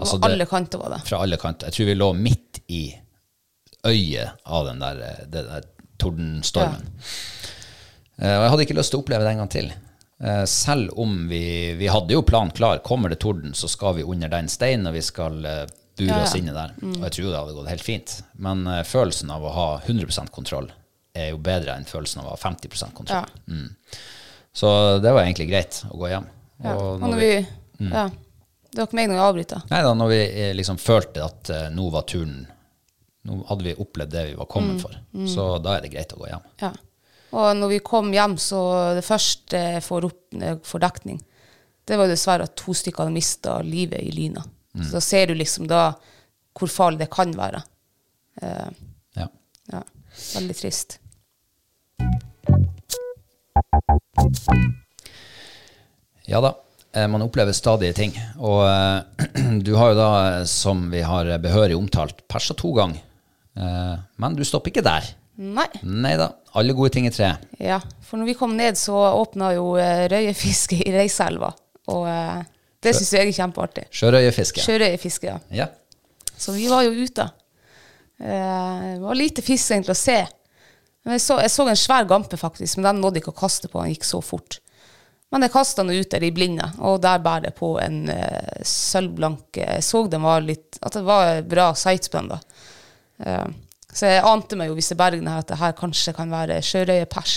Speaker 1: Altså,
Speaker 2: og
Speaker 1: det-
Speaker 2: alle kanter var det.
Speaker 1: Fra alle kanter. Jeg tror vi lå midt i øyet av den der, eh, den der tordenstormen. Eh, Og jeg hadde ikke lyst til å oppleve det en gang til. Eh, Selv om vi, vi hadde jo planen klar. Kommer det torden, så skal vi under den steinen, og vi skal eh, bure oss inne der.
Speaker 2: Mm.
Speaker 1: Og jeg tror det hadde gått helt fint. Men eh, følelsen av å ha 100 kontroll er jo bedre enn følelsen av å ha 50 kontroll.
Speaker 2: Ja.
Speaker 1: Så det var egentlig greit å gå hjem.
Speaker 2: Ja.
Speaker 1: Og
Speaker 2: Og
Speaker 1: når
Speaker 2: når
Speaker 1: vi- Mm.
Speaker 2: vi, ja. Det var ikke meg når jeg avbryta.
Speaker 1: Nei da, når vi eh, liksom følte at eh, nå var turen Nå hadde vi opplevd det vi var kommet for. Så da er det greit å gå hjem.
Speaker 2: Ja. Og når vi kom hjem, så det første jeg får opp når jeg får dekning, det var jo dessverre at to stykker hadde mista livet i lyna.
Speaker 1: Mm.
Speaker 2: Så da ser du liksom da hvor farlig det kan være. Eh,
Speaker 1: Ja.
Speaker 2: Ja, veldig trist.
Speaker 1: ja da, eh, man opplever stadige ting. Og eh, du har jo da, eh, som vi har behørig omtalt, persa to ganger. Eh, men du stopper ikke der.
Speaker 2: Nei.
Speaker 1: Nei da, alle gode ting i tre.
Speaker 2: Ja, for når vi kom ned, så åpna jo eh, røyefiske i Reiselva. Og eh, det syns jeg er kjempeartig.
Speaker 1: Sjørøyefiske.
Speaker 2: Sjørøyefiske, ja.
Speaker 1: Ja.
Speaker 2: Så vi var jo ute. Eh, det var lite fisk egentlig å se. Men jeg, så, jeg så en svær gampe, faktisk, men den nådde ikke å kaste på. Den gikk så fort. Men jeg kasta den ut der i blinde, og der bærer det på en eh, sølvblank eh, Jeg så den var litt, at det var bra sightspenn, da. Eh, så jeg ante meg jo hvis jeg berger den her, at det her kanskje kan være sjørøyepers.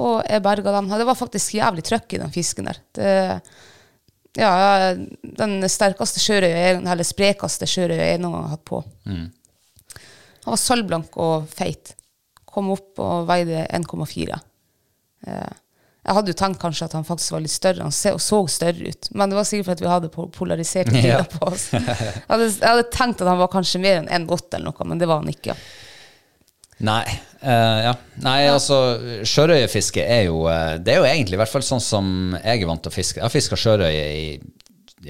Speaker 2: Og jeg berga den. Og det var faktisk jævlig trøkk i den fisken der. Det, ja, den sterkeste sjørøya, jeg- eller sprekeste sjørøya jeg noen gang har hatt på. Han var sølvblank og feit. Kom opp og veide 1,4. Eh, Jeg hadde jo tenkt kanskje at han faktisk var litt større, han se, og så større ut. Men det var sikkert fordi vi hadde po- polariserte
Speaker 1: Ja.
Speaker 2: bilder på oss. Jeg hadde, jeg hadde tenkt at han var kanskje mer enn 1,8 eller noe, men det var han ikke.
Speaker 1: Nei, eh, ja. Nei, altså sjørøyefiske er jo eh, Det er jo egentlig i hvert fall sånn som jeg er vant til å fiske. Jeg har fiska sjørøye i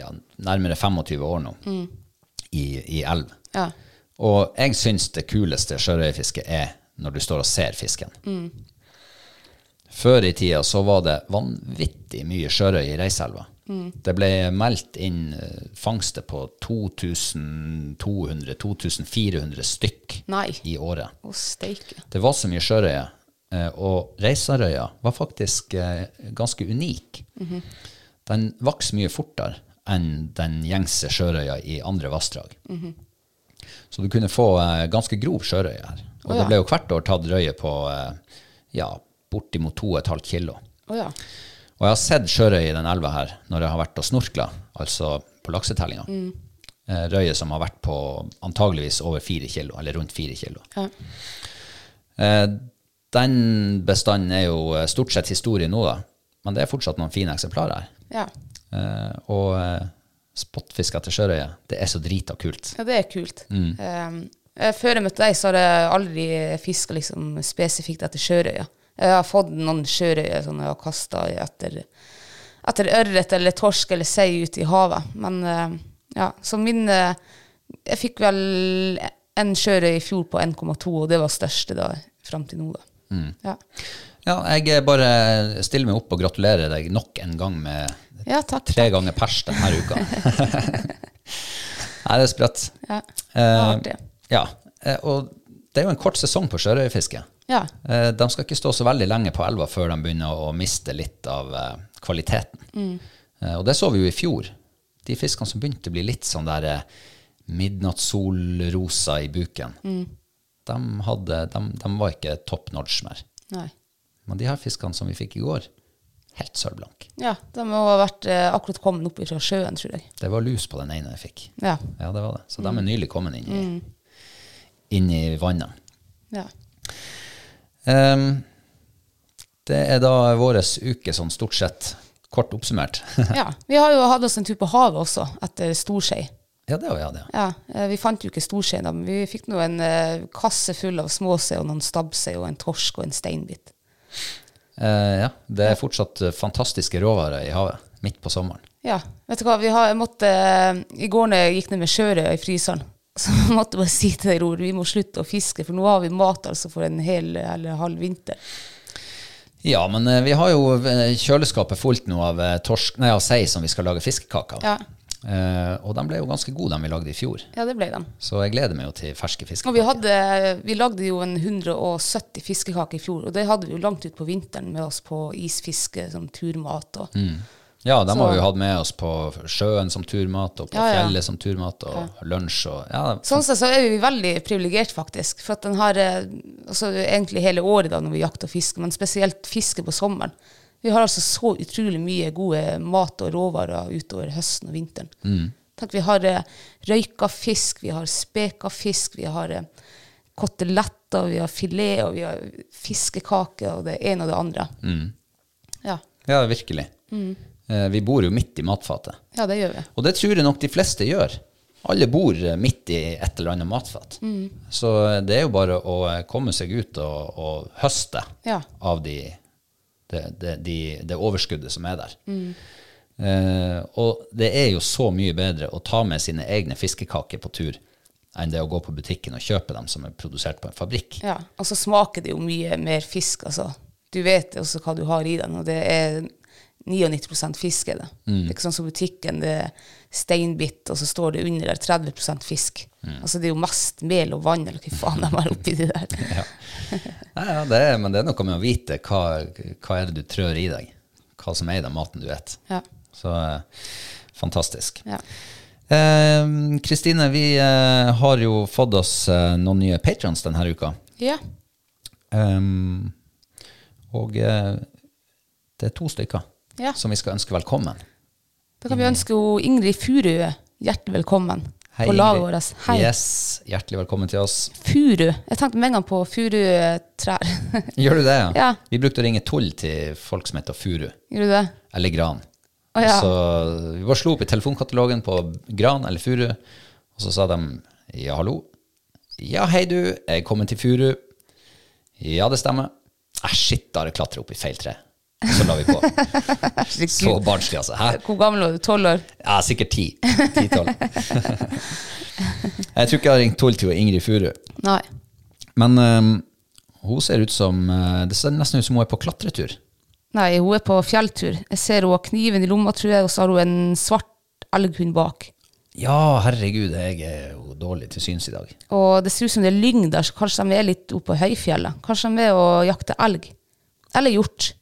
Speaker 1: ja, nærmere 25 år nå, i, i elv.
Speaker 2: Ja.
Speaker 1: Og jeg syns det kuleste sjørøyefisket er når du står og ser fisken. Før i tida så var det vanvittig mye sjørøye i Reiselva. Det ble meldt inn eh, fangster på 2200-2400 stykk
Speaker 2: Nei.
Speaker 1: i året.
Speaker 2: Å, steike.
Speaker 1: Det var så mye sjørøye, eh, og Reisarøya var faktisk eh, ganske unik. Den vokste mye fortere enn den gjengse sjørøya i andre vassdrag. Så du kunne få eh, ganske grov sjørøye her. Og det ble jo hvert år tatt røye på eh, ja, bortimot 2,5 kilo.
Speaker 2: Å ja.
Speaker 1: Og jeg har sett sjørøye i den elva her når jeg har vært og snorkla, altså på laksetellinga. Eh, Røye som har vært på antageligvis over fire kilo, eller rundt fire kilo.
Speaker 2: ja.
Speaker 1: Eh, Den bestanden er jo eh, stort sett historie nå, da. Men det er fortsatt noen fine eksemplarer her.
Speaker 2: Ja.
Speaker 1: Eh, Og eh, spotfisk etter sjørøye, det er så drita kult.
Speaker 2: Ja, det er kult. Eh, Eh, Før jeg møtte deg, så har jeg aldri fiska liksom, spesifikt etter sjørøye. Jeg har fått noen sjørøye som jeg har kasta etter, etter ørret eller torsk eller sei ute i havet. Men eh, ja, så min eh, Jeg fikk vel en sjørøye i fjor på 1,2, og det var største da fram til nå, da. Ja.
Speaker 1: Ja, jeg bare eh, stiller meg opp og gratulerer deg nok en gang med
Speaker 2: ja, takk.
Speaker 1: tre ganger pers denne uka. Nei, det er sprøtt.
Speaker 2: Ja, det var
Speaker 1: Eh,
Speaker 2: artig.
Speaker 1: ja. Eh, og det er jo en kort sesong på sjørøyefiske.
Speaker 2: Ja.
Speaker 1: Eh, de skal ikke stå så veldig lenge på elva før de begynner å miste litt av eh, kvaliteten. Eh, og det så vi jo i fjor. De fiskene som begynte å bli litt sånn der eh, midnattssolrosa i buken, de, hadde, de, de var ikke top notch mer.
Speaker 2: Nei.
Speaker 1: Men de her fiskene som vi fikk i går, helt sølvblank.
Speaker 2: Ja, de må ha vært eh, akkurat kommet opp fra sjøen, tror jeg.
Speaker 1: Det var lus på den ene jeg fikk.
Speaker 2: Ja.
Speaker 1: Ja, det var det. Så de er nylig kommet inn i, inn i vannet.
Speaker 2: ja.
Speaker 1: Ehm, det er da vår uke sånn stort sett kort oppsummert.
Speaker 2: Ja, Vi har jo hatt oss en tur på havet også, etter storskei.
Speaker 1: ja, det var ja, det.
Speaker 2: Ja, eh, vi fant jo ikke storskei, da, men vi fikk nå en eh, kasse full av småsei og noen stabbsei og en torsk og en steinbit.
Speaker 1: Eh, ja, det er fortsatt eh, fantastiske råvarer i havet midt på sommeren.
Speaker 2: Ja, vet du hva, vi har, jeg måtte, eh, I går når jeg gikk ned med sjørøya i fryseren, så måtte jeg bare si til deg, Ror, vi må slutte å fiske, for nå har vi mat altså for en hel eh, eller halv vinter.
Speaker 1: Ja, men eh, vi har jo eh, kjøleskapet fullt nå av, eh, torsk, nei, av sei som vi skal lage fiskekaker av.
Speaker 2: Ja.
Speaker 1: Eh, og de ble jo ganske gode, de vi lagde i fjor.
Speaker 2: Ja, det ble de.
Speaker 1: Så jeg gleder meg jo til ferske fiskekaker.
Speaker 2: Og vi, hadde, vi lagde jo en 170 fiskekaker i fjor, og det hadde vi jo langt ut på vinteren med oss på isfiske, som turmat og
Speaker 1: Ja, dem
Speaker 2: Så-
Speaker 1: har vi jo hatt med oss på sjøen som turmat, og på
Speaker 2: Ja, ja.
Speaker 1: fjellet som turmat, og lunsj og ja,
Speaker 2: Sånn sett så er vi veldig privilegert, faktisk. For at den har eh, altså, egentlig hele året da når vi jakter og fisker, men spesielt fiske på sommeren. Vi har altså så utrolig mye gode mat og råvarer utover høsten og vinteren. Tenk, vi har eh, røyka fisk, vi har speka fisk, vi har eh, koteletter, vi har filet, og vi har fiskekake, og det ene og det andre.
Speaker 1: Mm.
Speaker 2: Ja.
Speaker 1: ja virkelig.
Speaker 2: Mm.
Speaker 1: Eh, vi bor jo midt i matfatet.
Speaker 2: ja, det gjør vi.
Speaker 1: Og det tror jeg nok de fleste gjør. Alle bor eh, midt i et eller annet matfat.
Speaker 2: Mm.
Speaker 1: Så eh, det er jo bare å eh, komme seg ut og, og høste
Speaker 2: Ja.
Speaker 1: av de, det, det, de, det overskuddet som er der.
Speaker 2: Mm.
Speaker 1: Eh, og det er jo så mye bedre å ta med sine egne fiskekaker på tur enn det å gå på butikken og kjøpe dem som er produsert på en fabrikk.
Speaker 2: Ja, og så smaker det jo mye mer fisk, altså. Du vet også hva du har i den, og det er 99 fisk er det.
Speaker 1: Mm.
Speaker 2: Det er ikke sånn som butikken, det er steinbitt, og så står det under der 30 fisk.
Speaker 1: Mm.
Speaker 2: Altså det er jo mest mel og vann, eller hva faen de har oppi det der.
Speaker 1: Ja, ja, det er, men det er noe med å vite hva, hva er det du trør i deg. Hva som er i den maten du et.
Speaker 2: Ja.
Speaker 1: Så eh, fantastisk.
Speaker 2: Ja.
Speaker 1: Eh, Kristine, vi eh, har jo fått oss eh, noen nye patrons denne uka.
Speaker 2: ja.
Speaker 1: Ehm, og eh, det er to stykker
Speaker 2: Ja.
Speaker 1: som vi skal ønske velkommen.
Speaker 2: Da kan vi ønske jo Ingrid Furue hjertelig velkommen
Speaker 1: Mm. Hei,
Speaker 2: på laget
Speaker 1: Ingrid.
Speaker 2: vårt. altså. Hei.
Speaker 1: Yes, hjertelig velkommen til oss.
Speaker 2: Furu. Jeg tenkte med en gang på furutrær.
Speaker 1: Gjør du det? ja?
Speaker 2: Ja.
Speaker 1: Vi brukte å ringe tull til folk som heter Furu
Speaker 2: Gjør du det?
Speaker 1: eller Gran.
Speaker 2: Å, ja.
Speaker 1: Så vi bare slo opp i telefonkatalogen på Gran eller Furu, og så sa de ja, hallo. Ja, hei du, jeg kommer til Furu. Ja, det stemmer. Æh, shit, da har jeg klatra opp i feil tre. Så la vi på. så barnslig, altså. Hæ?
Speaker 2: Hvor gammel var du? Tolv år?
Speaker 1: Ja, sikkert ti. Ti-tolv. jeg tror ikke jeg har ringt Tull til Ingrid Furu.
Speaker 2: Nei.
Speaker 1: Men eh, hun ser ut som eh, Det ser nesten ut som hun er på klatretur.
Speaker 2: Nei, hun er på fjelltur. Jeg ser hun har kniven i lomma, tror jeg, og så har hun en svart elghund bak.
Speaker 1: Ja, herregud, jeg er jo dårlig til syns i dag.
Speaker 2: Og det ser ut som det er lyng der, så kanskje de er litt oppe på høyfjellet. Kanskje de er og jakter elg. Eller hjort.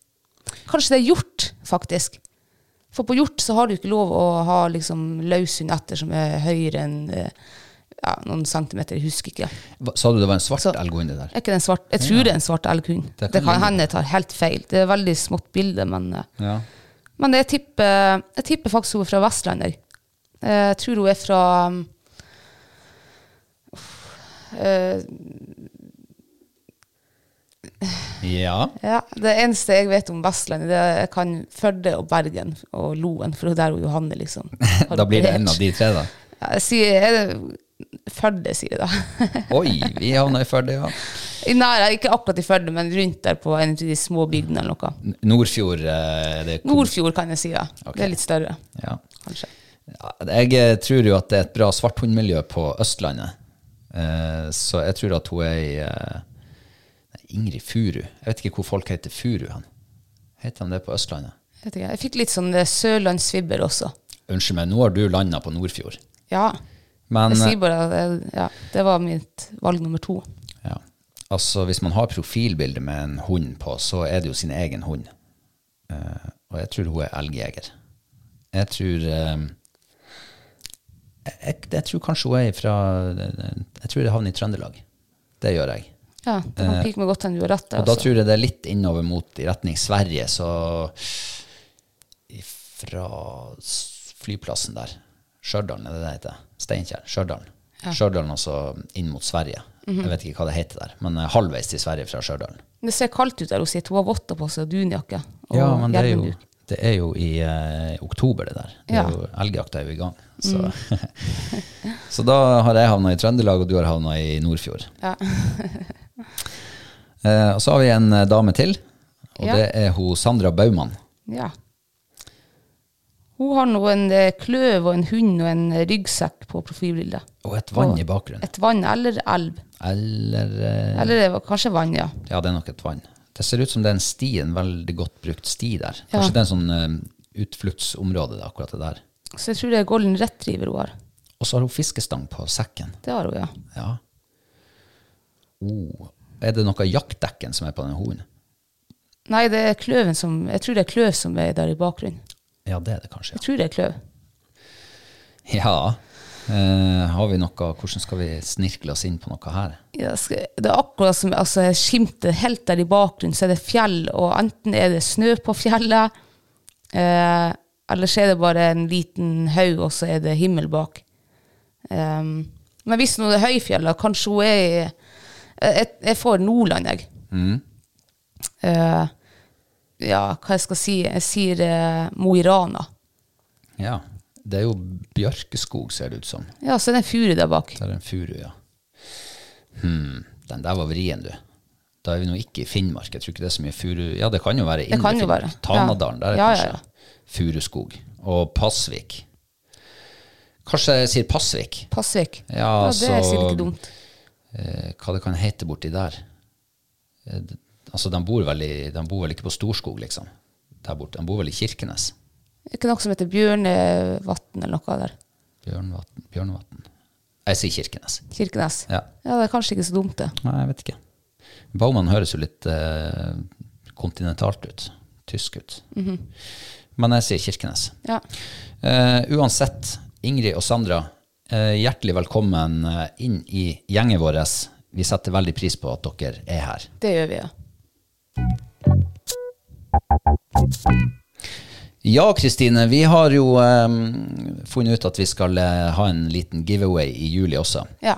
Speaker 2: Kanskje det er hjort, faktisk. For på hjort så har du ikke lov å ha liksom løshund etter som er høyere enn eh, ja, noen centimeter, jeg husker ikke.
Speaker 1: Hva- Sa du det var en svart
Speaker 2: Så-
Speaker 1: elg under der?
Speaker 2: Er ikke det en svart? Jeg tror det er en svart elghund.
Speaker 1: Det kan
Speaker 2: Det kan,
Speaker 1: ligne.
Speaker 2: hende jeg tar helt feil. Det er et veldig smått bilde, men eh,
Speaker 1: Ja.
Speaker 2: Men jeg tipper, jeg tipper faktisk hun er fra Vestlandet. Jeg tror hun er fra um, eh,
Speaker 1: ja.
Speaker 2: ja, Det eneste jeg vet om Vestlandet, det er jeg kan Førde og Bergen og Loen, for det er der hun Johanne liksom har
Speaker 1: Da blir det
Speaker 2: operert.
Speaker 1: en av de tre, da.
Speaker 2: Ja, Jeg sier, er det, Førde, sier jeg da.
Speaker 1: Oi, vi havna i Førde, ja.
Speaker 2: Nei, ikke akkurat i Førde, men rundt der på en av de små bygdene eller noe.
Speaker 1: N- Nordfjord eh, det kom-
Speaker 2: Nordfjord, kan jeg si. ja. Det er litt større,
Speaker 1: Ja.
Speaker 2: kanskje.
Speaker 1: Ja, Jeg eh, tror jo at det er et bra svarthundmiljø på Østlandet. Eh, Så jeg tror at hun er i eh, nei, Ingrid Furu. Jeg vet ikke hvor folk heter Furu hen. Heter de det på Østlandet?
Speaker 2: Jeg, vet ikke, jeg fikk litt sånn eh, sørlandsvibber også.
Speaker 1: Unnskyld meg, nå har du landa på Nordfjord.
Speaker 2: Ja.
Speaker 1: Men
Speaker 2: jeg
Speaker 1: eh,
Speaker 2: sier bare at jeg, ja, det var mitt valg nummer to.
Speaker 1: ja, altså, hvis man har profilbilde med en hund på, så er det jo sin egen hund. Eh, Og jeg tror hun er elgjeger. Jeg tror eh, jeg, jeg, jeg tror kanskje hun er fra Jeg tror jeg havner i Trøndelag. Det gjør jeg.
Speaker 2: Ja, Det kan pike meg godt enn du har rett. det,
Speaker 1: Eh, Og da
Speaker 2: altså.
Speaker 1: tror jeg det er litt innover mot i retning Sverige, så fra flyplassen der, Stjørdal, er det det heter? Steinkjer, Stjørdal. Stjørdal altså inn mot Sverige.
Speaker 2: Mhm.
Speaker 1: Jeg vet ikke hva det heter der, men eh, halvveis til Sverige fra Stjørdal.
Speaker 2: Det ser kaldt ut der hun sier. Hun har votter på seg og dunjakke. Og
Speaker 1: Ja, men det er jo,
Speaker 2: hjelmduk.
Speaker 1: det er jo i eh, oktober, det der. Det er
Speaker 2: Ja. Mm.
Speaker 1: jo, elgjakta er jo i gang. Så. så da har jeg havna i Trøndelag, og du har havna i Nordfjord.
Speaker 2: Ja.
Speaker 1: Eh, og så har vi en eh, dame til, og
Speaker 2: Ja.
Speaker 1: det er hun Sandra Baumann.
Speaker 2: ja. Hun har nå en eh, kløv og en hund og en eh, ryggsekk på profilbildet.
Speaker 1: Og et vann
Speaker 2: Og
Speaker 1: i bakgrunnen.
Speaker 2: Et vann eller elv.
Speaker 1: Eller eh,
Speaker 2: Eller det var kanskje vann, ja.
Speaker 1: Ja, det er nok et vann. Det ser ut som det er en sti, en veldig godt brukt sti der. Kanskje
Speaker 2: Ja.
Speaker 1: det er en sånn eh, utfluktsområde, det, akkurat det der.
Speaker 2: Så jeg tror det er golden retriever hun har.
Speaker 1: Og så har hun fiskestang på sekken.
Speaker 2: Det har hun, ja.
Speaker 1: Ja. Oh. Er det noe jaktdekken som er på den hunden?
Speaker 2: Nei, det er kløven som Jeg tror det er kløv som er der i bakgrunnen.
Speaker 1: Ja, det er det kanskje.
Speaker 2: Jeg tror det er kløv.
Speaker 1: Ja. ja. Eh, har vi noe Hvordan skal vi snirkle oss inn på noe her?
Speaker 2: Ja, skal- det er akkurat som altså, jeg skimter helt der i bakgrunnen, så er det fjell, og enten er det snø på fjellet, eh, eller så er det bare en liten haug, og så er det himmel bak. Ehm, men hvis nå det er høyfjellet, kanskje hun er i Jeg, jeg får Nordland, jeg.
Speaker 1: Mm.
Speaker 2: Eh, ja, hva jeg skal si? Jeg sier eh, Mo i Rana.
Speaker 1: Ja. Det er jo bjørkeskog, ser det ut som.
Speaker 2: Ja, så er det en furu der bak.
Speaker 1: Der er en furu, ja. Hmm, den der var vrien, du. Da er vi nå ikke i Finnmark. Jeg tror ikke det er så mye furu Ja, det kan jo være inne i
Speaker 2: kan jo
Speaker 1: Finnmark.
Speaker 2: være, ja.
Speaker 1: Tanadalen, der er
Speaker 2: Ja, ja,
Speaker 1: kanskje furuskog. Og Pasvik. Kanskje jeg sier Pasvik?
Speaker 2: Pasvik.
Speaker 1: Ja,
Speaker 2: det er
Speaker 1: så-
Speaker 2: sikkert ikke dumt.
Speaker 1: Eh, hva det kan hete borti der? Eh, d- altså, de bor, vel i, de bor vel ikke på Storskog, liksom? Der borte. De bor vel i Kirkenes?
Speaker 2: Er ikke noe som heter Bjørnevatn eller noe der?
Speaker 1: Bjørnvatn Bjørnvatn. Jeg sier Kirkenes.
Speaker 2: Kirkenes.
Speaker 1: Ja.
Speaker 2: Ja, det er kanskje ikke så dumt, det.
Speaker 1: Nei, jeg vet ikke. Baumann høres jo litt eh, kontinentalt ut. Tysk ut. Men jeg sier Kirkenes.
Speaker 2: Ja.
Speaker 1: Eh, uansett, Ingrid og Sandra, eh, hjertelig velkommen eh, inn i gjengen vår. Vi setter veldig pris på at dere er her.
Speaker 2: Det gjør vi, ja.
Speaker 1: Ja, Kristine, vi har jo eh, funnet ut at vi skal eh, ha en liten giveaway i juli også.
Speaker 2: Ja.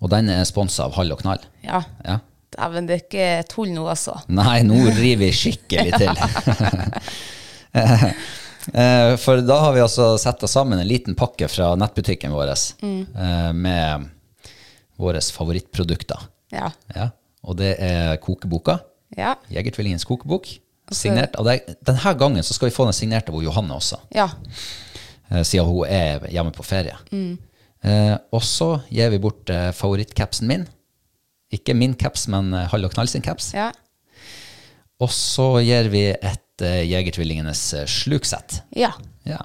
Speaker 1: Og den er sponsa av Hall og Knall.
Speaker 2: ja.
Speaker 1: Ja.
Speaker 2: Dæven, det er ikke tull nå, altså.
Speaker 1: Nei, nå river vi skikkelig til. Eh, For da har vi altså sett oss sammen en liten pakke fra nettbutikken vår eh, med våre favorittprodukter.
Speaker 2: Ja.
Speaker 1: Ja. Og det er kokeboka.
Speaker 2: Ja.
Speaker 1: Jegertvillingens kokebok.
Speaker 2: så-
Speaker 1: Signert av deg. Denne gangen så skal vi få den signert av hun Johanne også,
Speaker 2: ja.
Speaker 1: eh, siden hun er hjemme på ferie. Eh, Og så gir vi bort eh, favorittcapsen min. Ikke min caps, men eh, Hall og Knall sin caps.
Speaker 2: Ja.
Speaker 1: Og så gir vi et eh, Jegertvillingenes eh, sluksett.
Speaker 2: Ja.
Speaker 1: Ja.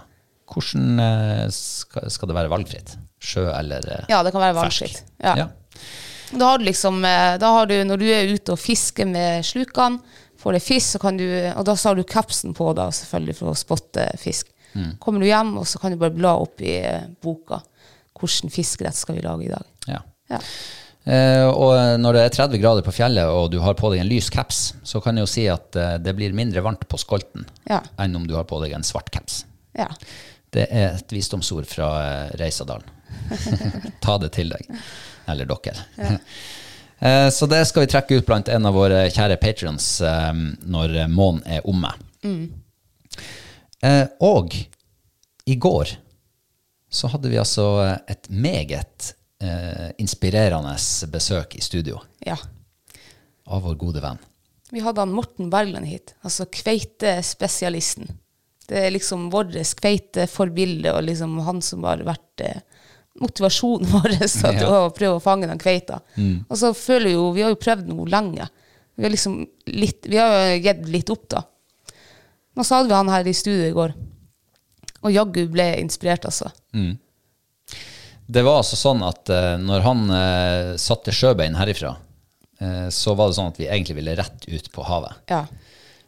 Speaker 1: Hvordan eh, skal, skal det være valgfritt? Sjø eller eh,
Speaker 2: Ja, det kan være
Speaker 1: fersk?
Speaker 2: valgfritt. Ja.
Speaker 1: Ja.
Speaker 2: Da har du liksom eh, da har du, Når du er ute og fisker med slukene, får deg fisk, så kan du, og da så har du kapsen på, da, selvfølgelig, for å spotte fisk.
Speaker 1: Mm.
Speaker 2: Kommer du hjem, og så kan du bare bla opp i eh, boka. Hvilken fiskerett skal vi lage i dag?
Speaker 1: Ja.
Speaker 2: Ja.
Speaker 1: Eh, og når det er 30 grader på fjellet, og du har på deg en lys caps, så kan jeg jo si at eh, det blir mindre varmt på skolten
Speaker 2: Ja.
Speaker 1: enn om du har på deg en svart caps.
Speaker 2: ja.
Speaker 1: Det er et visdomsord fra eh, Reisadalen. Ta det til deg. Eller dere. Eh, Så det skal vi trekke ut blant en av våre kjære patrions når eh, månen er omme. Eh, Og i går så hadde vi altså et meget eh, inspirerende besøk i studio
Speaker 2: Ja.
Speaker 1: av vår gode venn.
Speaker 2: Vi hadde han Morten Bergland hit, altså kveitespesialisten. Det er liksom vårt kveiteforbilde, og liksom han som har vært eh, motivasjonen vår at, å prøve å fange den kveita.
Speaker 1: Mm.
Speaker 2: Og så føler vi jo, vi har jo prøvd noe lenge. Vi har liksom litt, vi har jo gitt litt opp da. Men så hadde vi han her i studio i går, og jaggu ble jeg inspirert altså.
Speaker 1: Det var altså sånn at eh, når han eh, satte sjøbein herifra, eh, så var det sånn at vi egentlig ville rett ut på havet.
Speaker 2: Ja.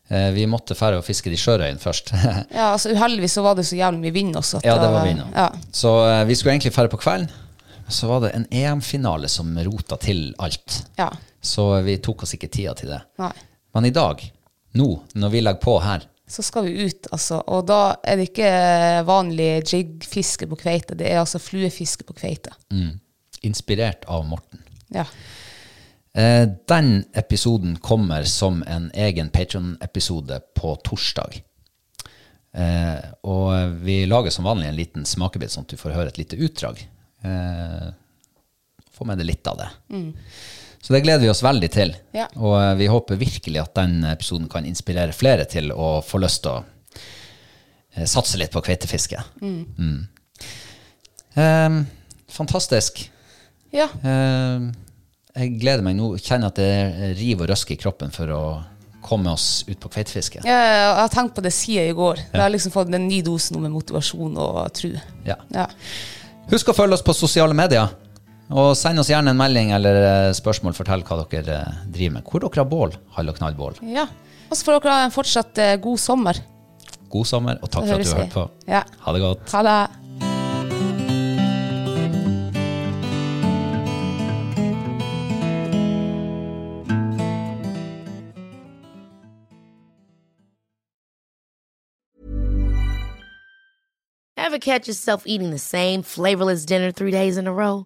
Speaker 1: Eh, vi måtte fære og fiske de sjørøyene først.
Speaker 2: ja, altså uheldigvis så var det så jævlig mye vind også. at
Speaker 1: ja, det var vi nå.
Speaker 2: Ja.
Speaker 1: Så eh, vi skulle egentlig fære på kvelden, så var det en EM-finale som rota til alt.
Speaker 2: Ja.
Speaker 1: Så eh, vi tok oss ikke tida til det.
Speaker 2: Nei.
Speaker 1: Men i dag, nå, når vi legger på her,
Speaker 2: så skal vi ut, altså. Og da er det ikke vanlig jiggfiske på kveite, det er altså fluefiske på kveite.
Speaker 1: Mm. inspirert av Morten
Speaker 2: Ja.
Speaker 1: Eh, Den episoden kommer som en egen Patreon-episode på torsdag. Eh, og vi lager som vanlig en liten smakebit, sånn at du får høre et lite utdrag. Eh, få med deg litt av det. Så det gleder vi oss veldig til.
Speaker 2: Ja.
Speaker 1: Og eh, vi håper virkelig at den episoden kan inspirere flere til å få lyst til å eh, satse litt på kveitefiske. Mm. Eh, fantastisk.
Speaker 2: ja.
Speaker 1: Eh, jeg gleder meg nå. Kjenner at det river og røsker i kroppen for å komme oss ut på kveitefiske.
Speaker 2: Jeg, jeg har tenkt på det siden i går. Jeg har liksom fått en ny dose nå med motivasjon og tro.
Speaker 1: Ja.
Speaker 2: Ja.
Speaker 1: Husk å følge oss på sosiale medier. Og send oss gjerne en melding eller eh, spørsmål. Fortell hva dere eh, driver med. Hvor dere har bål. Hall og knallbål.
Speaker 2: ja. Og så får dere ha en fortsatt eh, god sommer.
Speaker 1: God sommer, og takk for at du hørte på.
Speaker 2: Ja.
Speaker 1: Ha det godt.
Speaker 2: Ha det.
Speaker 3: Ever catch yourself eating the same flavorless dinner three days in a row?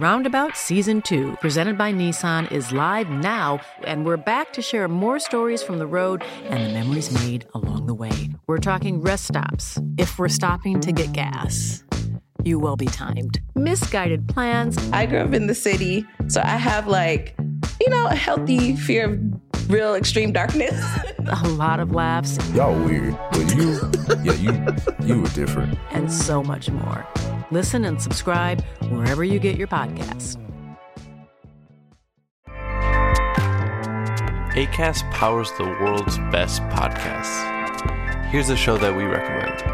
Speaker 4: Roundabout Season 2, presented by Nissan, is live now, and we're back to share more stories from the road and the memories made along the way. We're talking rest stops. If we're stopping to get gas, you will be timed. Misguided plans,
Speaker 5: I grew up in the city, so I have like, you know, a healthy fear of real extreme darkness.
Speaker 4: a lot of laughs,
Speaker 6: Y'all weird, but you, yeah, you, you were different.
Speaker 4: and so much more. Listen and subscribe wherever you get your podcasts.
Speaker 7: ACAST powers the world's best podcasts. Here's a show that we recommend.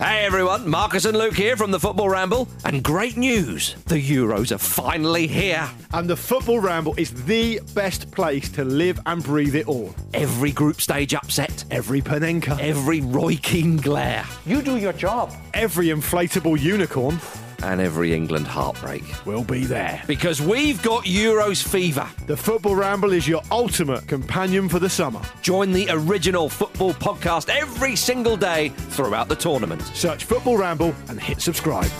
Speaker 8: Hey everyone, Marcus and Luke here from the Football Ramble, and great news! The Euros are finally here!
Speaker 9: And the Football Ramble is the best place to live and breathe it all.
Speaker 8: Every group stage upset,
Speaker 9: Every Panenka,
Speaker 8: every Roy Keane glare,
Speaker 9: every inflatable unicorn
Speaker 8: and every England heartbreak.
Speaker 9: will be there.
Speaker 8: Because we've got Euros fever!
Speaker 9: The Football Ramble is your ultimate companion for the summer.
Speaker 8: Join the original football podcast every single day throughout the tournament.
Speaker 9: Search Football Ramble and hit subscribe.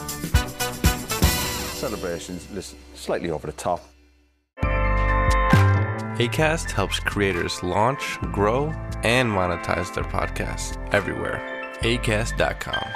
Speaker 6: Celebrations, listen, slightly over the top.
Speaker 7: ACAST helps creators launch, grow, and monetize their podcasts everywhere. ACAST.com.